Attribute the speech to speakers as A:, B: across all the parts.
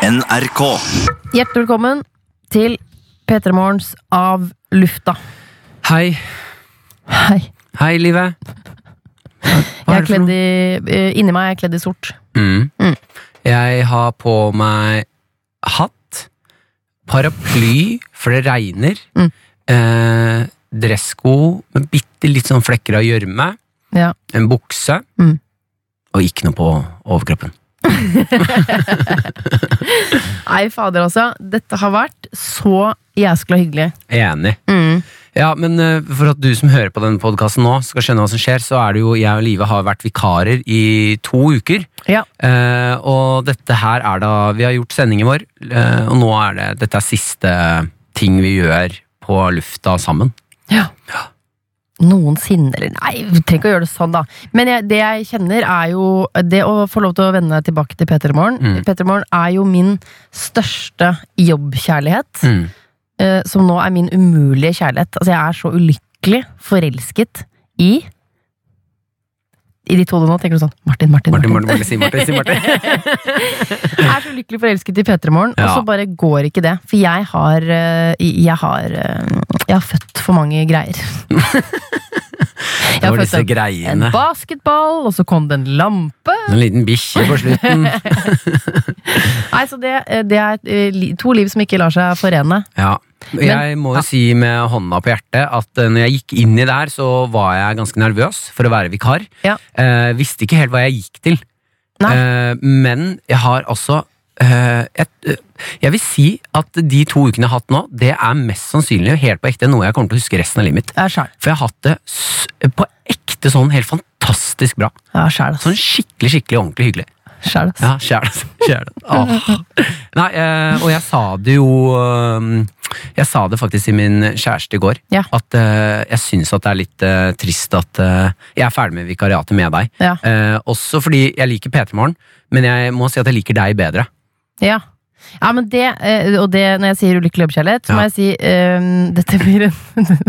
A: NRK.
B: Hjertelig velkommen til P3 Morgens Av lufta.
C: Hei.
B: Hei.
C: Hei, livet.
B: Jeg
C: Hva
B: er kledd i, eh, inni meg er jeg kledd i sort.
C: Mm.
B: Mm.
C: Jeg har på meg hatt, paraply, for det regner,
B: Mm.
C: eh, dressko med bitte litt sånn flekker av gjørme,
B: Ja.
C: en bukse,
B: Mm.
C: og ikke noe på overkroppen.
B: Nei, fader altså. Dette har vært så jæskla hyggelig.
C: Enig.
B: Mm.
C: Ja, men eh, for at du som hører på denne podkasten nå, skal skjønne hva som skjer, så er det jo jeg og Live har vært vikarer i to uker.
B: Ja.
C: Eh, og dette her er da Vi har gjort sendingen vår, eh, og nå er det dette er siste ting vi gjør på lufta sammen.
B: ja. Noensinne, eller nei, vi trenger ikke å gjøre det sånn, da. Men jeg, det jeg kjenner, er jo det å få lov til å vende tilbake til P3 Morgen.
C: Mm.
B: P3 Morgen er jo min største jobbkjærlighet,
C: Mm.
B: eh, som nå er min umulige kjærlighet. Altså, jeg er så ulykkelig forelsket i I ditt hode nå tenker du sånn Martin, Martin,
C: Martin,
B: Martin.
C: Martin, Martin, si Martin, si Martin.
B: Jeg er så lykkelig forelsket i P3 Morgen, og
C: Ja.
B: så bare går ikke det. For jeg har eh, Jeg har, eh, jeg har født for mange greier.
C: Det
B: har
C: var
B: fått
C: disse
B: en- En
C: greiene.
B: basketball, og så kom det en lampe.
C: En liten bikkje på slutten.
B: Nei, så det, eh, det er eh, li- to liv som ikke lar seg forene.
C: Ja. Jeg må jo si med hånda på hjertet at eh, når jeg gikk inn i det her, så var jeg ganske nervøs for å være vikar.
B: Ja.
C: Eh, visste ikke helt hva jeg gikk til.
B: Nei.
C: Eh, men jeg har altså eh, et, eh, Jeg vil si at de to ukene jeg har hatt nå, det er mest sannsynlig og helt på ekte noe jeg kommer til å huske resten av livet mitt.
B: Jeg er sjæl.
C: For jeg har hatt det s- på ekte sånn helt fantastisk bra.
B: Jeg er sjæl,
C: Sånn skikkelig, skikkelig ordentlig hyggelig.
B: Sjæl, ass.
C: Ja, kjære deg. kjære deg. Åh. Nei, eh, og jeg sa det jo eh, Jeg sa det faktisk til min kjæreste i går.
B: Ja.
C: At eh, jeg syns at det er litt eh, trist at eh, jeg er ferdig med vikariatet med deg.
B: Ja.
C: Eh, også fordi jeg liker P3 Morgen, men jeg må si at jeg liker deg bedre.
B: Ja. Ja, men det, eh, og det, når jeg sier ulykkelig jobbkjærlighet, så må
C: Ja.
B: jeg si eh, Dette blir en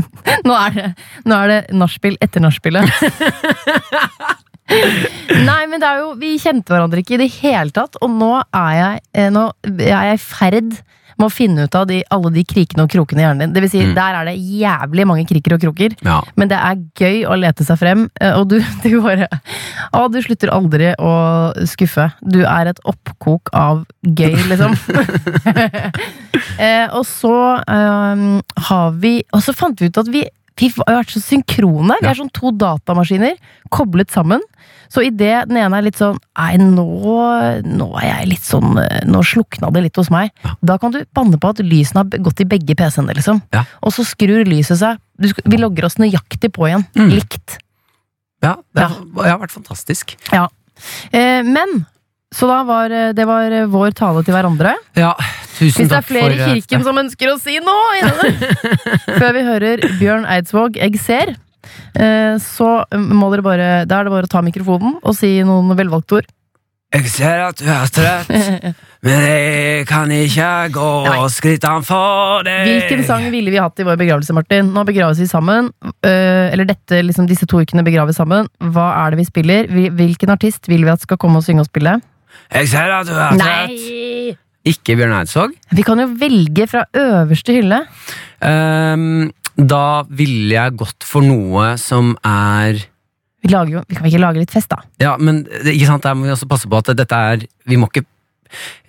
B: Nå er det, nå er det nachspiel etter nachspielet. Nei, men det er jo Vi kjente hverandre ikke i det hele tatt, og nå er jeg, eh, nå er jeg i ferd med å finne ut av de, alle de krikene og krokene i hjernen din. Det vil si,
C: Mm.
B: der er det jævlig mange kriker og kroker.
C: Ja.
B: Men det er gøy å lete seg frem, eh, og du, du bare Å, du slutter aldri å skuffe. Du er et oppkok av gøy, liksom. eh, og så eh, har vi Og så fant vi ut at vi vi har vært så synkrone. Vi
C: Ja.
B: er sånn to datamaskiner koblet sammen. Så idet den ene er litt sånn Nei, nå, nå er jeg litt sånn eh, Nå slukna det litt hos meg.
C: Ja.
B: Da kan du banne på at lysene har b- gått i begge PC-ene, liksom.
C: Ja.
B: Og så skrur lyset seg. Du, sk- vi logger oss nøyaktig på igjen.
C: Mm.
B: Likt.
C: Ja, det har, jeg har vært fantastisk.
B: Eh, men så da var eh, det var eh, vår tale til hverandre.
C: Ja, tusen
B: Hvis det er
C: takk for
B: flere i
C: eh,
B: kirken som ønsker å si noe i denne. Før vi hører Bjørn Eidsvåg 'Eg ser', eh, så må dere bare Da er det bare å ta mikrofonen og si noen velvalgte ord.
C: Jeg ser at du er trøtt, men jeg kan ikke gå
B: Nei.
C: skrittene for deg.
B: Hvilken sang ville vi hatt i vår begravelse, Martin? Nå begraves vi sammen. øh, eller dette, liksom, disse to ukene begraves sammen. Hva er det vi spiller? Hvil- Hvilken artist vil vi at skal komme og synge og spille?
C: Jeg ser at du er
B: Nei!
C: Ikke Bjørn Eidsvåg.
B: Vi kan jo velge fra øverste hylle.
C: Ehm, da ville jeg gått for noe som er
B: Vi, lager jo, vi kan ikke lage litt fest, da?
C: Ja, men det- ikke sant, der må vi også passe på at dette er Vi må ikke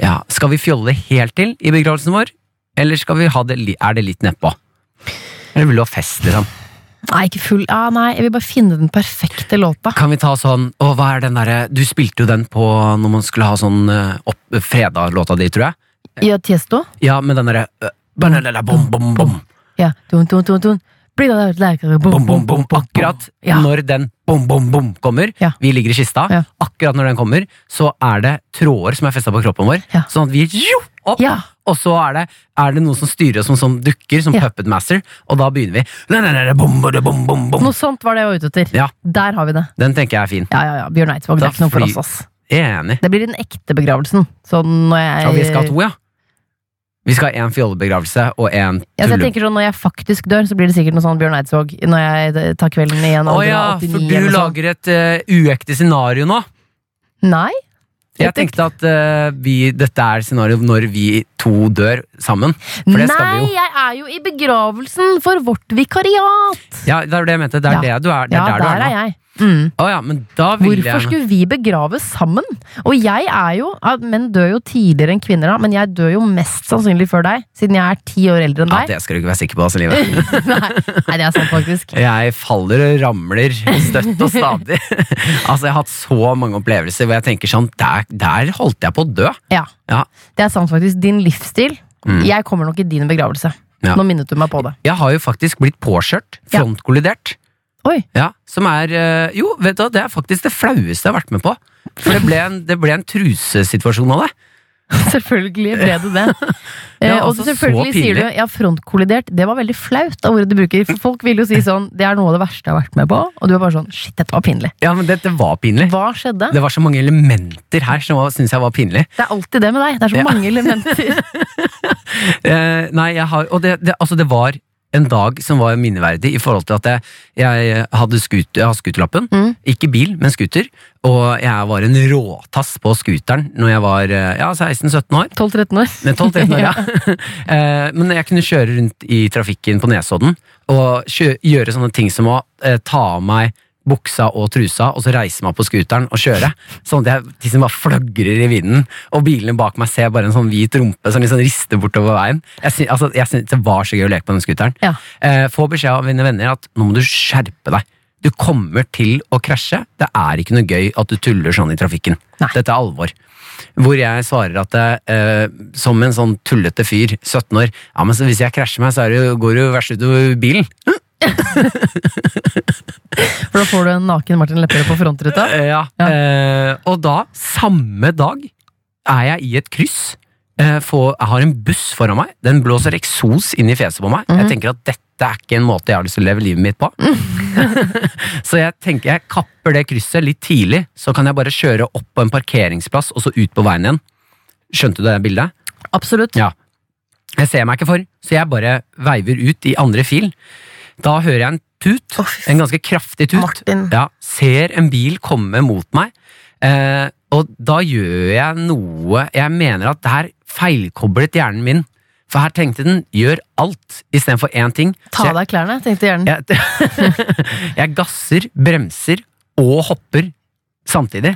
C: ja, Skal vi fjolle helt til i begravelsen vår, eller skal vi ha det, li- er det litt nedpå? Eller vil du ha fest, liksom?
B: Nei, ikke full. Ah, nei, jeg vil bare finne den perfekte låta.
C: Kan vi ta sånn Å, hva er den derre Du spilte jo den på når man skulle ha sånn eh, opp- fredag-låta di, tror jeg.
B: Ja, Tiesto?
C: Ja, med den derre eh, banalala, bom, bom, bom,
B: Ja. Dun, dun, dun, dun. Bli da der, der, der,
C: bom, bom, bom, akkurat
B: Ja.
C: når den bom, bom, bom kommer,
B: Ja.
C: vi ligger i kista,
B: Ja.
C: akkurat når den kommer, så er det tråder som er festa på kroppen vår,
B: Ja.
C: sånn at vi jo, opp,
B: Ja.
C: og så er det, er det noen som styrer oss som, som dukker, som
B: Ja.
C: puppet master, og da begynner vi. La, la, la, la, bom, bada, bom, bom, bom.
B: Noe sånt var det jeg var ute etter.
C: Ja.
B: Der har vi det.
C: Den tenker jeg er fin.
B: Ja, ja, ja. Bjørn Eidsvåg, det
C: Da
B: er ikke noe for oss,
C: fly-
B: ass.
C: Enig.
B: Det blir den ekte begravelsen. Sånn når jeg,
C: Ja, vi skal ha to, ja. Vi skal ha én fjollebegravelse og én
B: Ja, så jeg
C: tulle...
B: tenker sånn, Når jeg faktisk dør, så blir det sikkert noe sånn Bjørn Eidsvåg. Når jeg eh, tar kvelden i en
C: Å
B: alder
C: ja,
B: av 89
C: for du
B: eller noe sånt.
C: lager et eh, uekte scenario nå.
B: Nei,
C: Jeg tenkte at eh, vi, dette er scenarioet når vi to dør sammen. For det skal vi
D: Nei,
C: jo.
D: jeg er jo i begravelsen for vårt vikariat!
C: Ja, det er det jeg mente. Det er
D: Ja.
C: det du er. Det er
D: Ja,
C: der, du er, nå.
D: er jeg. Mm.
C: Å ja, men da vil
D: Hvorfor
C: jeg
D: skulle vi begraves sammen? Og jeg er jo ja, Menn dør jo tidligere enn kvinner, da, men jeg dør jo mest sannsynlig før deg, siden jeg er ti år eldre enn
C: Ja,
D: deg.
C: det skal du ikke være sikker på, altså, livet.
D: Nei, nei, det er sant, faktisk.
C: Jeg faller og ramler støtt og stadig. altså, jeg har hatt så mange opplevelser hvor jeg tenker sånn, der, der holdt jeg på å dø.
D: Ja,
C: Ja,
D: det er sant, faktisk. Din livsstil.
C: Mm.
D: Jeg kommer nok i din begravelse.
C: Ja.
D: Nå minnet du meg på det.
C: jeg har jo faktisk blitt påkjørt,
D: Ja.
C: frontkollidert.
D: Oi,
C: Ja, som er eh, Jo, vet du hva, det er faktisk det flaueste jeg har vært med på. For det ble en, det ble en trusesituasjon av det.
D: selvfølgelig ble du det.
C: Ja,
D: Eh, og
C: altså, så
D: selvfølgelig sier du
C: pinlig.
D: ja, frontkollidert. Det var veldig flaut av ordet du bruker. For folk vil jo si sånn, det er noe av det verste jeg har vært med på. Og du er bare sånn, shit, dette var pinlig.
C: Ja, men dette var pinlig.
D: Hva skjedde?
C: Det var så mange elementer her som syns jeg var pinlig.
D: Det er alltid det med deg. Det er så
C: Ja.
D: mange elementer.
C: Eh, nei, jeg har, og det, det, altså det var en dag som var minneverdig i forhold til at jeg, jeg hadde skut, jeg har skuterlappen.
D: Mm.
C: Ikke bil, men skuter. Og jeg var en råtass på skuteren når jeg var eh, ja, 16-17 år.
D: 12-13 år.
C: Nei, 12-13 år, ja. Eh, men jeg kunne kjøre rundt i trafikken på Nesodden og kjø gjøre sånne ting som å eh, ta av meg buksa og trusa, og så reise meg på skuteren og kjøre. Sånn at jeg liksom bare flagrer i vinden, og bilene bak meg ser bare en sånn hvit rumpe som liksom rister bortover veien. Jeg syns altså, jeg syns det var så gøy å leke på den skuteren.
D: Ja.
C: Eh, få beskjed av mine venner at nå må du skjerpe deg. Du kommer til å krasje. Det er ikke noe gøy at du tuller sånn i trafikken.
D: Nei.
C: Dette er alvor. Hvor jeg svarer at eh, som en sånn tullete fyr, 17 år, ja, men så hvis jeg krasjer meg, så er det, jo- går det jo verst utover bilen.
D: For da får du en naken Martin Lepperød på frontruta.
C: Eh, ja.
D: Ja.
C: Eh, og da, samme dag, er jeg i et kryss. Eh, får- jeg har en buss foran meg. Den blåser eksos inn i fjeset på meg. Jeg tenker at dette er ikke en måte jeg har lyst til å leve livet mitt på. så jeg tenker jeg kapper det krysset litt tidlig, så kan jeg bare kjøre opp på en parkeringsplass og så ut på veien igjen. Skjønte du det bildet?
D: Absolutt.
C: Ja. Jeg ser meg ikke for, så jeg bare veiver ut i andre fil. Da hører jeg en tut,
D: Å, fy f-
C: en ganske kraftig tut.
D: Martin.
C: Ja, ser en bil komme mot meg, eh, og da gjør jeg noe Jeg mener at her feilkoblet hjernen min. For her tenkte den 'gjør alt' istedenfor én ting.
D: Ta
C: Så
D: av deg klærne, tenkte hjernen.
B: Mm.
C: jeg, jeg, jeg gasser, bremser og hopper samtidig.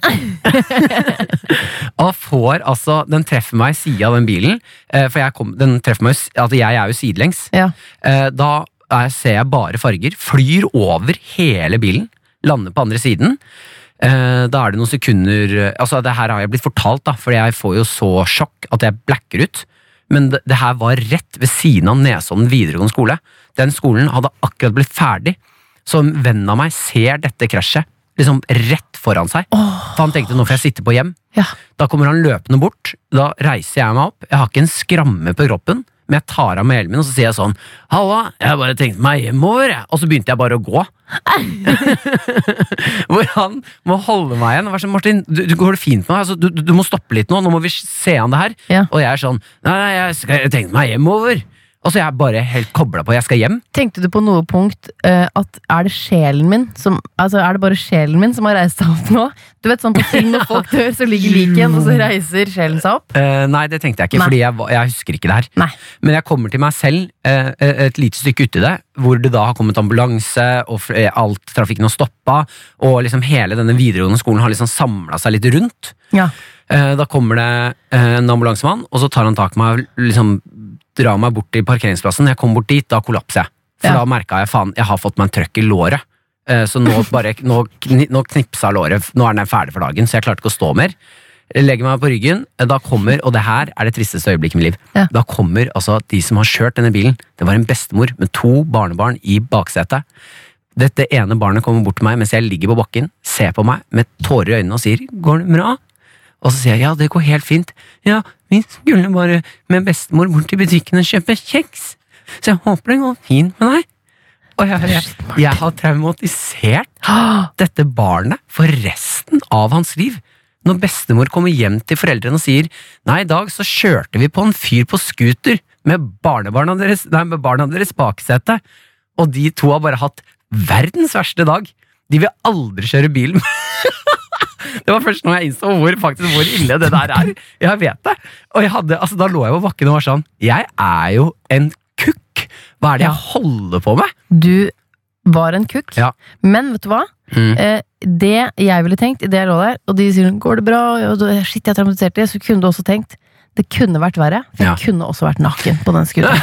C: og får altså Den treffer meg i sida av den bilen, eh, for jeg, kom, den treffer meg, jo s- altså jeg er jo sidelengs.
D: Ja.
C: Eh, Da er, ser jeg bare farger. Flyr over hele bilen. Lander på andre siden. Eh, Da er det noen sekunder Altså, det her har jeg blitt fortalt, da, for jeg får jo så sjokk at jeg blacker ut. Men det, det her var rett ved siden av Nesodden videregående skole. Den skolen hadde akkurat blitt ferdig, så en venn av meg ser dette krasjet liksom rett foran seg. For han tenkte nå får jeg sitte på hjem.
D: Ja.
C: Da kommer han løpende bort. Da reiser jeg meg opp. Jeg har ikke en skramme på kroppen, men jeg tar av meg hjelmen og så sier jeg sånn Halla, jeg bare tenkte meg hjemover, jeg. Og så begynte jeg bare å gå. Hvor han må holde meg igjen. og være sånn, Martin, du, du går det fint med deg? Altså, du, du- du må stoppe litt nå. Nå må vi se an det her.
D: Ja.
C: Og jeg er sånn Nei, nei jeg, skal, jeg tenkte meg hjemover. Og så er jeg bare helt kobla på. Jeg skal hjem.
D: Tenkte du på noe punkt eh, at er det sjelen min som Altså, er det bare sjelen min som har reist seg opp nå? Du vet sånn på film når folk dør, så ligger liket igjen, og så reiser sjelen seg opp?
C: Eh, nei, det tenkte jeg ikke,
D: Nei.
C: fordi jeg, var- jeg husker ikke det her.
D: Nei.
C: Men jeg kommer til meg selv eh, et lite stykke uti det, hvor det da har kommet ambulanse, og fl- eh, alt trafikken har stoppa, og liksom hele denne videregående skolen har liksom samla seg litt rundt.
D: Ja.
C: Eh, Da kommer det eh, en ambulansemann, og så tar han tak i meg og liksom drar meg bort til parkeringsplassen. Jeg kommer bort dit, da kollapser jeg. For
D: Ja.
C: da merka jeg faen, jeg har fått meg en trøkk i låret. Eh, Så nå, bare, nå, kni- nå knipsa låret. Nå er den ferdig for dagen, så jeg klarte ikke å stå mer. Jeg Legger meg på ryggen, eh, da kommer, og det her er det tristeste øyeblikket i mitt liv.
D: Ja.
C: Da kommer altså de som har kjørt denne bilen. Det var en bestemor med to barnebarn i baksetet. Dette ene barnet kommer bort til meg mens jeg ligger på bakken, ser på meg med tårer i øynene og sier 'går det bra'? Og så sier jeg ja, det går helt fint. Ja, vi skulle bare med bestemor bort til butikken og kjøpe kjeks. Så jeg håper det går fint med deg. Og jeg, jeg, jeg har traumatisert
B: Ah,
C: dette barnet for resten av hans liv. Når bestemor kommer hjem til foreldrene og sier nei, i dag så kjørte vi på en fyr på scooter med, barnebarna deres, nei, med barna deres baksete, og de to har bare hatt verdens verste dag. De vil aldri kjøre bil Det var først nå jeg innså hvor, faktisk, hvor ille det der er. Jeg vet det. Og jeg hadde, altså, da lå jeg på bakken og var sånn Jeg er jo en kukk! Hva er det jeg holder på med?
B: Du var en kukk,
C: Ja.
B: men vet du hva?
C: Mm.
B: Eh, det jeg ville tenkt i det jeg lå der, og de sier 'går det bra', og da- shit, jeg traumatiserte det, så kunne du også tenkt det kunne vært verre, for jeg
C: Ja.
B: kunne også vært naken på den skuta.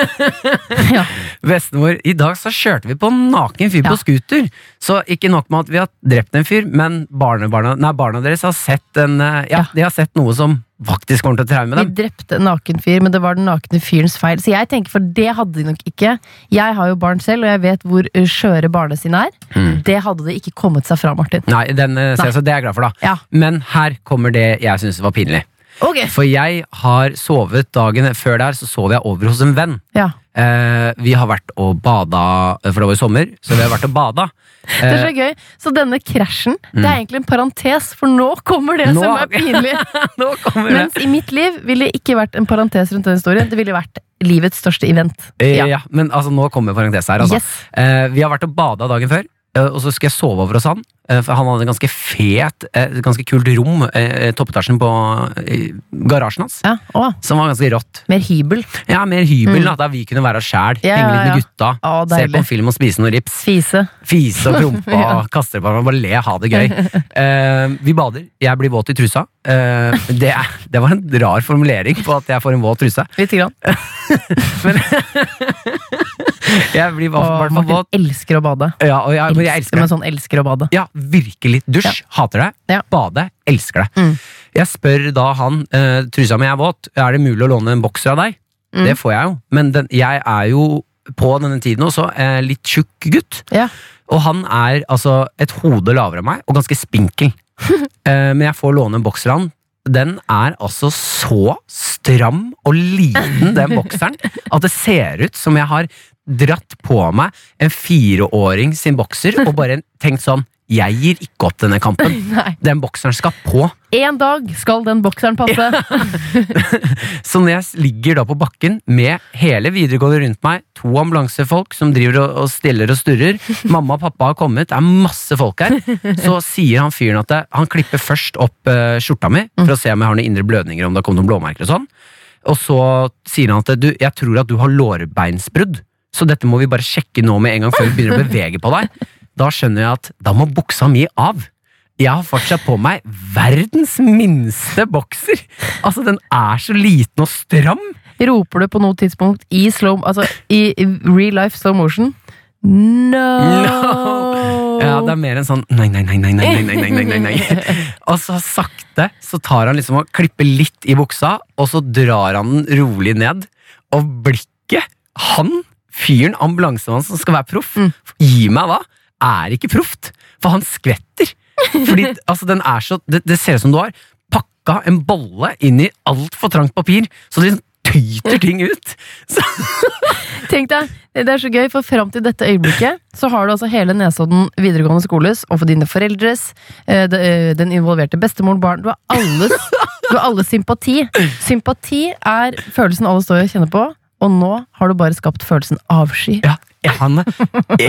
B: ja.
C: Bestemor, i dag så kjørte vi på en naken fyr
B: Ja.
C: på scooter. Så ikke nok med at vi har drept en fyr, men barnebarna, nei, barna deres har sett en eh, ja,
B: Ja. Mm.
C: de har sett noe som faktisk kommer til å traume
B: Vi
C: dem.
B: drepte en naken fyr, men det var den nakne fyrens feil. Så jeg tenker, for det hadde de nok ikke. Jeg har jo barn selv, og jeg vet hvor eh, skjøre barnesinn er.
C: Mm.
B: Det hadde det ikke kommet seg fra, Martin.
C: Nei, den eh, ser jeg, så det er jeg glad for, da.
B: Ja.
C: Men her kommer det jeg syns var pinlig.
B: Ok.
C: For jeg har sovet dagen før der, så sov jeg over hos en venn.
B: Ja.
C: Eh, vi har vært og bada, eh, for det var i sommer, så vi har vært og bada. Eh,
B: Det er så gøy. Så denne krasjen, det er egentlig en parentes, for nå kommer det
C: Mm. Nå-
B: som er pinlig.
C: Nå kommer det!
B: Mens i mitt liv ville det ikke vært en parentes rundt den historien. Det ville vært livets største event.
C: Eh, ja. men altså, nå kommer parentes her. Altså.
B: Yes.
C: Eh, vi har vært og bada dagen før, eh, og så skal jeg sove over hos han. eh, for han hadde et ganske fet, eh, ganske kult rom, eh, toppetasjen på eh, garasjen hans,
B: Ja, å,
C: som var ganske rått.
B: mer hybel.
C: Ja, mer hybel, da, der vi kunne være oss sjæl,
B: Mm. Ja,
C: henge
B: ja,
C: litt med gutta,
B: Å,
C: se på
B: deilig.
C: en film og spise noe rips.
B: Fise.
C: Fise og prompe og kaste det på meg. Bare le, ha det gøy. Eh, vi bader. Jeg blir våt i trusa. Eh, det, er, det var en rar formulering på at jeg får en våt truse.
B: Lite grann.
C: Jeg blir i
B: Og
C: hvert fall
B: Martin
C: våt.
B: elsker å bade.
C: Ja, og jeg, men jeg elsker
B: Men
C: det.
B: sånn elsker å bade.
C: Ja, virkelig. Dusj. Hater det.
B: Ja.
C: Bade. Elsker det.
B: Mm.
C: Jeg spør da han eh, trusa mi er våt, er det mulig å låne en bokser av deg?
B: Mm.
C: Det får jeg jo. Men den, jeg er jo på denne tiden også eh, litt tjukk gutt.
B: Ja.
C: Og han er altså et hode lavere enn meg, og ganske spinkel. Eh, men jeg får låne en bokser av han. Den er altså så stram og liten, den bokseren, at det ser ut som jeg har dratt på meg en fireåring sin bokser og bare tenkt sånn Jeg gir ikke opp denne kampen.
B: Nei.
C: Den bokseren skal på.
B: En dag skal den bokseren passe.
C: Så når jeg ligger da på bakken med hele videregående rundt meg, to ambulansefolk som driver og, og stiller og sturrer, mamma og pappa har kommet, det er masse folk her, så sier han fyren at det, han klipper først opp eh, skjorta mi for å se om jeg har noen indre blødninger, om det har kommet noen blåmerker og sånn. Og så sier han at du, jeg tror at du har lårbeinsbrudd, så dette må vi bare sjekke nå med en gang før vi begynner å bevege på deg. Da skjønner jeg at da må buksa mi av. Jeg har fortsatt på meg verdens minste bokser. Altså, den er så liten og stram.
B: Roper du på noe tidspunkt i slow Altså i real life slow motion No!
C: No. Ja, det er mer en sånn nei, nei, nei, nei, nei, nei, nei, nei, nei, nei. Og så sakte så tar han liksom og klipper litt i buksa, og så drar han den rolig ned. Og blikket Han, fyren, ambulansemannen som skal være proff,
B: Mm.
C: gi meg hva, er ikke proft. For han skvetter. Fordi altså, den er så det, det ser ut som du har pakka en bolle inn i altfor trangt papir, så det liksom tyter ting ut. Så,
B: Tenk deg, Det er så gøy, for fram til dette øyeblikket så har du altså hele Nesodden videregående skoles og for dine foreldres, eh, de- eh, den involverte bestemoren, barn Du har alles, du har alles sympati. Sympati er følelsen alle står og kjenner på, og nå har du bare skapt følelsen avsky.
C: ja, han er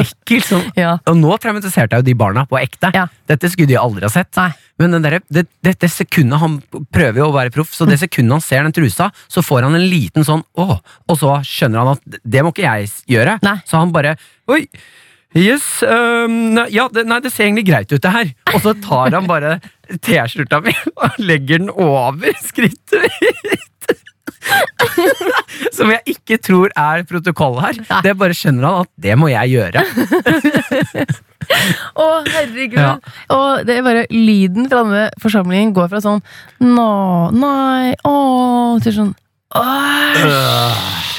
C: ekkel som
B: Ja.
C: Og nå traumatiserte jeg jo de barna på ekte.
B: Ja.
C: Dette skulle de aldri ha sett.
B: Nei.
C: Men den derre- det, det, det sekundet han prøver jo å være proff, så det
B: Mm.
C: sekundet han ser den trusa, så får han en liten sånn åh, og så skjønner han at det må ikke jeg s- gjøre.
B: Nei.
C: Så han bare oi, yes, øhm, nei, ja, det, nei, det ser egentlig greit ut det her. Og så tar han bare T-skjorta mi og legger den over skrittet mitt. Som jeg ikke tror er protokoll her.
B: Nei.
C: Det bare skjønner han at det må jeg gjøre.
B: Å, herregud!
C: Ja.
B: Og det er bare lyden fra denne forsamlingen går fra sånn nå, nei, å, til sånn Æsj!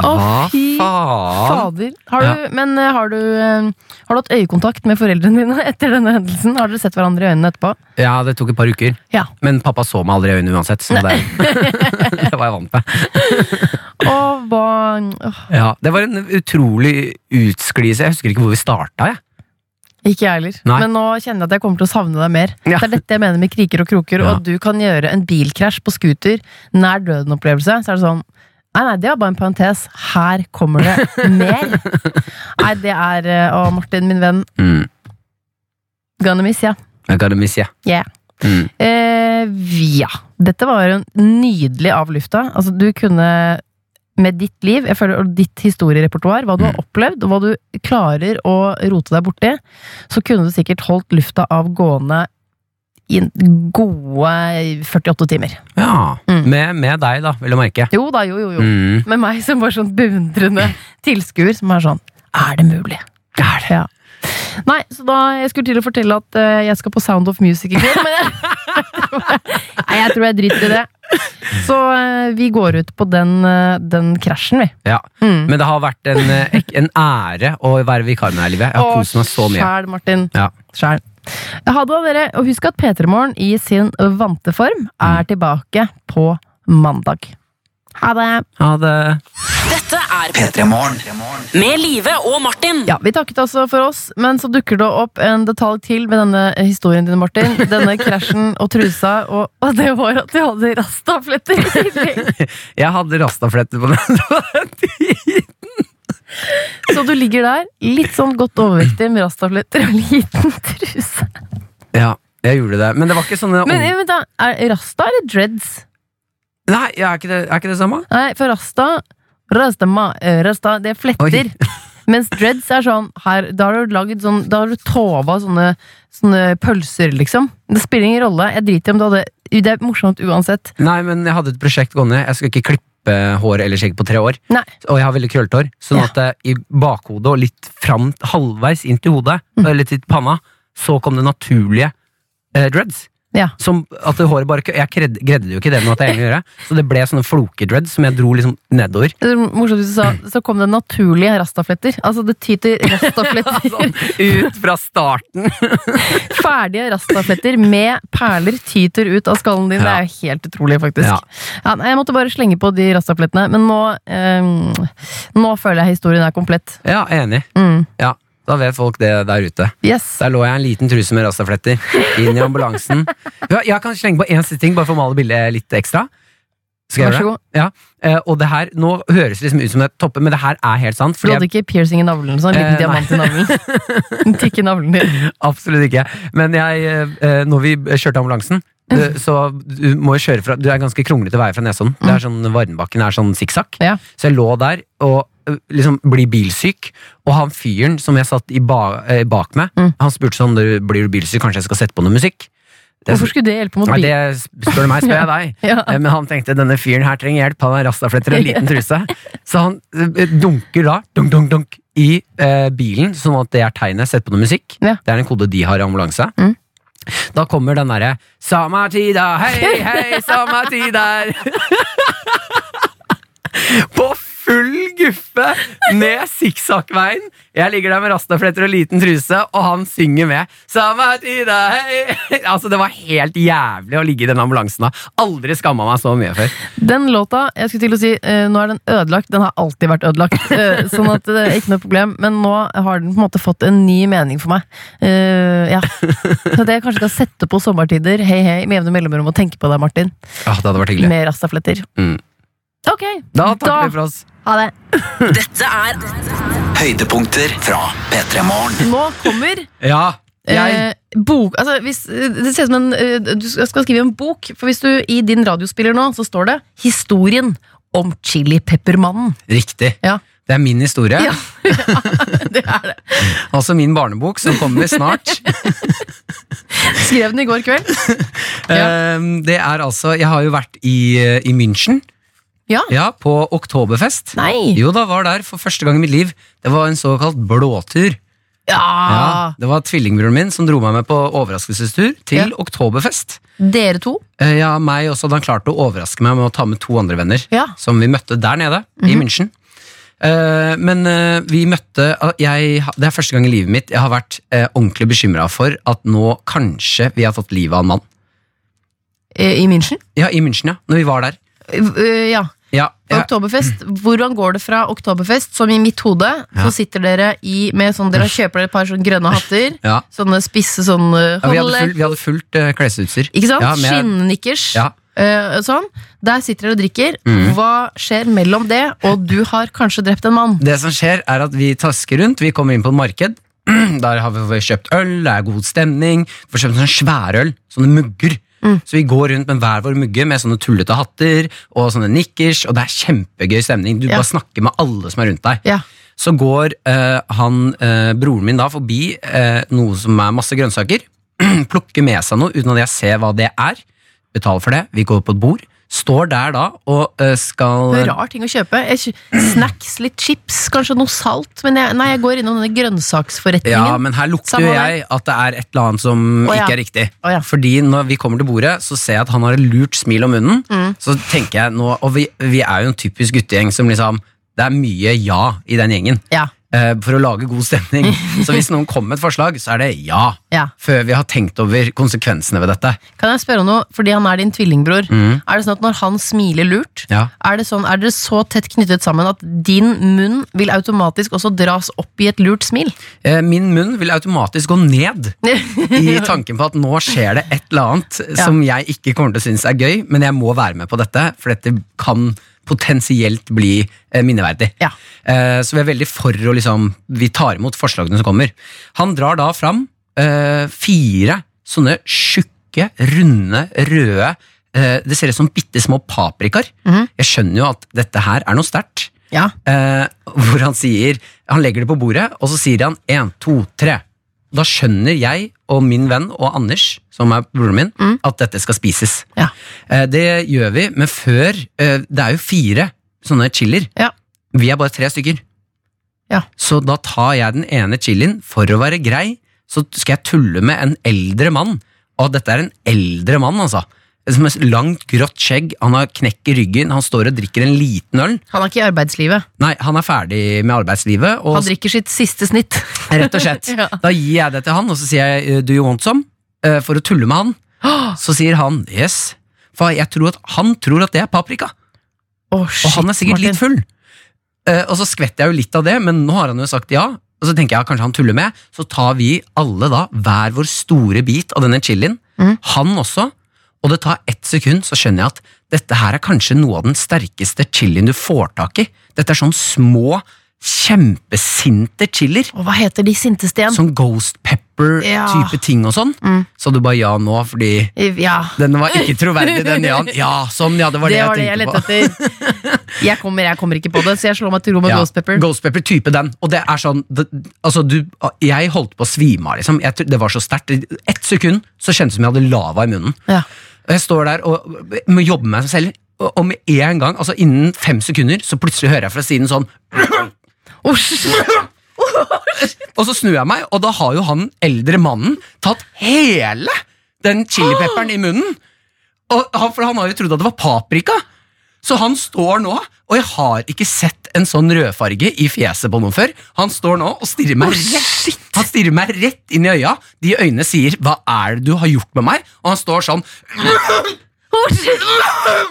B: Å, fy
C: faen?
B: Fader. Har du, Men eh, har du, eh, har du hatt øyekontakt med foreldrene dine etter denne hendelsen? Har dere sett hverandre i øynene etterpå?
C: Ja, det tok et par uker.
B: Ja.
C: Men pappa så meg aldri i øynene uansett, så det, det var jeg vant med.
B: Og hva åh,
C: Ja, det var en utrolig utsklise. Jeg husker ikke hvor vi starta. Jeg.
B: Ikke jeg heller.
C: Nei.
B: Men nå kjenner jeg at jeg kommer til å savne deg mer.
C: Ja.
B: Det er dette jeg mener med kriker og kroker,
C: Ja.
B: og at du kan gjøre en bilkrasj på scooter, nær døden-opplevelse, så er det sånn Nei, nei, det var bare en parentes. Her kommer det mer. nei, det er eh, Å, Martin, min venn.
C: Mm.
B: Gonna miss, ja.
C: I gotta miss you.
B: Yeah.
C: Mm.
B: Eh, ja. Dette var jo nydelig av lufta. Altså, du kunne med ditt liv jeg føler, og ditt historierepertoar, hva du har opplevd, og hva du klarer å rote deg borti, så kunne du sikkert holdt lufta av gående i en gode 48 timer.
C: Ja.
B: Mm.
C: Med, med deg, da, vil jeg merke.
B: Jo da, jo, jo, jo.
C: Mm.
B: Med meg som var sånn beundrende tilskuer som er sånn Er det mulig?
C: Er det?
B: Ja. Nei, så da Jeg skulle til å fortelle at eh, jeg skal på Sound of Music i kveld, men jeg, Nei, jeg tror jeg driter i det. Så eh, vi går ut på den, eh, den krasjen, vi.
C: Ja.
B: Mm.
C: Men det har vært en, eh, ek- en ære å være vikar med deg, Livet. Jeg har kost meg så mye.
B: Sjæl, Martin.
C: Ja.
B: Sjæl. Ha det, da, dere. Og husk at P3morgen i sin vante form
C: Mm.
B: er tilbake på mandag. Ha det!
C: Ha det.
E: Dette er Med Live og Martin.
B: Ja, Vi takket altså for oss, men så dukker det opp en detalj til med denne historien din, Martin. Denne krasjen og trusa, og, og det var at du hadde rastafletter i tillegg.
C: Jeg hadde rastafletter på den tiden.
B: Så du ligger der, litt sånn godt overvektig med rastafletter og liten truse.
C: Ja, jeg gjorde det. Men det var ikke sånne
B: Men
C: ung-
B: eh, vent da, er rasta eller dreads?
C: Nei, ja, er ikke det, er ikke det samme?
B: Nei, for rasta, rasta, ma, eh, rasta det er fletter. Mens dreads er sånn her, Da har du laget sånn, da har du tova sånne, sånne pølser, liksom. Det spiller ingen rolle. Jeg driter i om du hadde Det er morsomt uansett.
C: Nei, men jeg hadde et prosjekt gående. Jeg skulle ikke klippe hår eller skjegg på tre år.
B: Nei.
C: Og jeg har veldig krøllete hår. Sånn at eh, i bakhodet og litt fram, halvveis inn til hodet, eller til panna, så kom det naturlige eh, dreads.
B: Ja.
C: Som at det håret bare ikke- Jeg kred- greide jo ikke det med at jeg egentlig gjorde, så det ble sånne flokedreads som jeg dro liksom nedover.
B: Det er morsomt hvis du sa Så kom det naturlige rastafletter. Altså, det tyter rastafletter.
C: Sånn, Ut fra starten!
B: Ferdige rastafletter med perler tyter ut av skallen din. Det er jo helt utrolig, faktisk.
C: Ja.
B: Ja. nei, jeg måtte bare slenge på de rastaflettene, men nå ehm, Nå føler jeg historien er komplett.
C: Ja, enig.
B: Mm.
C: Ja, Da vet folk det der ute.
B: Yes.
C: Der lå jeg i en liten truse med rastafletter inn i ambulansen. Ja, Jeg kan slenge på én siste ting, bare for å male bildet litt ekstra. Skal jeg
B: Vær så
C: gjøre det? Ja. eh, Og det her, Nå høres det liksom ut som det topper, men det her er helt sant.
B: Du
C: Fordi jeg
B: hadde ikke piercing i navlen? Sånn liten
C: Eh, nei.
B: diamant i navlen? Den tykke navlen din.
C: Absolutt ikke. Men jeg, eh, når vi kjørte ambulansen du, så du må jo kjøre fra Du er ganske kronglete vei fra Nesodden. Det er sånn, Varmbakken er sånn sikksakk.
B: Ja.
C: Så jeg lå der og eh, liksom blir bilsyk, og han fyren som jeg satt i ba, eh, bak meg,
B: Mm.
C: han spurte sånn «Du, Blir du bilsyk, kanskje jeg skal sette på noe musikk? Det er
B: Hvorfor skulle det hjelpe mot
C: Nei,
B: bil?
C: det spør du meg, spør jeg deg.
B: Ja.
C: Eh, Men han tenkte denne fyren her trenger hjelp, han har rastafletter og en liten truse. Så han eh, dunker da dunk, dunk, dunk, i eh, bilen, sånn at det er tegnet. Sett på noe musikk.
B: Ja.
C: Det er en kode de har i ambulanse.
B: Mm.
C: Da kommer den derre Samatida, hei, hei, samatida På full guffe med sikksakkveien. Jeg ligger der med rastafletter og liten truse, og han synger med. Samatida, hei Altså, Det var helt jævlig å ligge i den ambulansen. da Aldri skamma meg så mye før.
B: Den låta, jeg skulle til å si, eh, nå er den ødelagt. Den har alltid vært ødelagt, eh, sånn at det er ikke noe problem. Men nå har den på en måte fått en ny mening for meg. Eh, ja. Så det jeg kanskje skal sette på sommertider, hei hei, med jevne mellomrom og tenke på deg, Martin.
C: Ja, Det hadde vært hyggelig.
B: Med rastafletter.
C: Mm.
B: Ok,
C: Da takker vi for oss.
B: ha det.
E: Dette er
A: Høydepunkter fra P3 Morgen.
B: Nå kommer
C: Ja, jeg
B: Eh, bok, altså hvis, eh, det ser ut som en, eh, du skal skrive en bok, for hvis du i din radiospiller nå, så står det 'Historien om chilipeppermannen'.
C: Riktig.
B: Ja.
C: Det er min historie.
B: Ja. Det er det.
C: Altså min barnebok, som kommer snart.
B: Skrev den i går kveld. Ja.
C: Ehm, Det er altså Jeg har jo vært i, eh, i München.
B: Ja.
C: På Oktoberfest.
B: Nei!
C: Jo da, var der for første gang i mitt liv. Det var en såkalt blåtur.
B: Ja!
C: det var tvillingbroren min som dro meg med på overraskelsestur til
B: Ja.
C: Oktoberfest.
B: Dere to.
C: Eh, Ja, meg også hadde han klart å overraske meg med å ta med to andre venner
B: Ja. Mhm.
C: som vi møtte der nede, i München. Eh, men eh, vi møtte ah, jeg, ha- Det er første gang i livet mitt jeg har vært eh, ordentlig bekymra for at nå kanskje vi har fått livet av en mann.
B: eh, I München.
C: Ja, i München, ja. Når vi var der.
B: Eh, eh, Ja.
C: Ja, ja.
B: Oktoberfest. Hvordan går det fra Oktoberfest, som i mitt hode, så sitter dere i med sånn Dere kjøper dere et par sånne grønne hatter.
C: ja.
B: Sånne spisse sånn eh,
C: ja vi, hadde
B: holde-
C: full, vi hadde fullt eh, klesutstyr.
B: Ikke sant?
C: Ja, med-
B: Skinnnikkers.
C: Ja. Mm.
B: eh, sånn. Der sitter dere og drikker. Hva skjer mellom det og du har kanskje drept en mann?
C: Det som skjer er at vi tasker rundt, vi kommer inn på et marked mm, Der har vi kjøpt øl, det er god stemning. Vi får kjøpt sånne sværøl, sånne mugger.
B: Mm.
C: Så vi går rundt med hver vår mugge med sånne tullete hatter og sånne nikkers, og det er kjempegøy stemning. Du
B: Ja.
C: bare snakker med alle som er rundt deg.
B: Ja.
C: Så går eh, han, eh, broren min da forbi eh, noe som er masse grønnsaker, plukker med seg noe uten at jeg ser hva det er, betaler for det, vi går på et bord, står der da og eh, skal...
B: Det er rar ting å kjøpe. Jeg, kjø- snacks, litt chips, kanskje noe salt. Men jeg, nei, jeg går innom denne grønnsaksforretningen.
C: Ja, men her lukter
B: Samme
C: jo
B: her.
C: jeg at det er et eller annet som
B: Å, ja.
C: ikke er riktig.
B: Å, ja.
C: Fordi når vi kommer til bordet, så ser jeg at han har et lurt smil om munnen.
B: Mm.
C: Så tenker jeg nå, Og vi, vi er jo en typisk guttegjeng som liksom Det er mye ja i den gjengen.
B: Ja,
C: eh, For å lage god stemning. Så hvis noen kommer med et forslag, så er det ja.
B: ja.
C: Før vi har tenkt over konsekvensene ved dette.
B: Kan jeg spørre om noe? Fordi han er din tvillingbror. Er det sånn at når han smiler lurt,
C: Mm. Ja.
B: er, det sånn, er dere så tett knyttet sammen at din munn vil automatisk også dras opp i et lurt smil?
C: Eh, Min munn vil automatisk gå ned i tanken på at nå skjer det et eller annet
B: Ja.
C: som jeg ikke kommer til å synes er gøy, men jeg må være med på dette, for dette kan potensielt bli eh, minneverdig.
B: Ja.
C: Eh, Så vi er veldig for å liksom Vi tar imot forslagene som kommer. Han drar da fram eh, fire sånne tjukke, runde, røde eh, Det ser ut som bitte små paprikaer.
B: Mhm.
C: Jeg skjønner jo at dette her er noe sterkt.
B: Ja.
C: Eh, hvor han sier Han legger det på bordet, og så sier han én, to, tre. Da skjønner jeg og min venn og Anders, som er broren min, at dette skal spises.
B: Mm. Ja.
C: Eh, det gjør vi, men før eh, Det er jo fire sånne chilier.
B: Ja.
C: Vi er bare tre stykker.
B: Ja.
C: Så da tar jeg den ene chilien for å være grei. Så skal jeg tulle med en eldre mann. Og dette er en eldre mann, altså. Som har langt, grått skjegg. Han har knekk i ryggen. Han står og drikker en liten øl.
B: Han er ikke i arbeidslivet.
C: Nei, han er ferdig med arbeidslivet. Og
B: Han drikker sitt siste snitt.
C: rett og slett.
B: Ja.
C: Da gir jeg det til han, og så sier jeg eh, 'do you want some?' eh, for å tulle med han. Så sier han 'yes', for jeg tror at han tror at det er paprika.
B: Å,
C: Og
B: shit,
C: han er sikkert litt
B: Martin.
C: full. Eh, og så skvetter jeg jo litt av det, men nå har han jo sagt ja. Og så tenker jeg kanskje han tuller med. Så tar vi alle da hver vår store bit av denne chilien.
B: Mm.
C: Han også. Og det tar ett sekund, så skjønner jeg at dette her er kanskje noe av den sterkeste chilien du får tak i. Dette er sånn små, kjempesinte chilier.
B: Og hva heter de sinteste igjen?
C: Sånn ghost pepper-type
B: Ja.
C: ting og sånn.
B: Mm.
C: Så du bare ja nå, fordi
B: Ja,
C: den var ikke troverdig, den ja-en. Ja, sånn, ja, det var det,
B: det var det jeg
C: jeg tenkte på.
B: lette etter. Jeg kommer, jeg kommer ikke på det, så jeg slår meg til ro med
C: Ja,
B: ghost pepper.
C: Ghost Pepper type den. Og det er sånn det, altså du, Jeg holdt på å svime av, liksom. Jeg, tr- det var så sterkt. I Ett sekund så kjentes det som jeg hadde lava i munnen.
B: Ja.
C: Og jeg står der og må jobbe med meg selv, og og med en gang, altså innen fem sekunder, så plutselig hører jeg fra siden sånn
B: Å, shit.
C: Og så snur jeg meg, og da har jo han eldre mannen tatt hele den chilipepperen i munnen. Og han, for han har jo trodd at det var paprika. Så han står nå, og jeg har ikke sett en sånn rødfarge i fjeset på noen før. Han står nå og stirrer meg, rett, han stirrer meg rett inn i øya. De øynene sier 'hva er det du har gjort med meg?' Og han står sånn
B: Å, shit.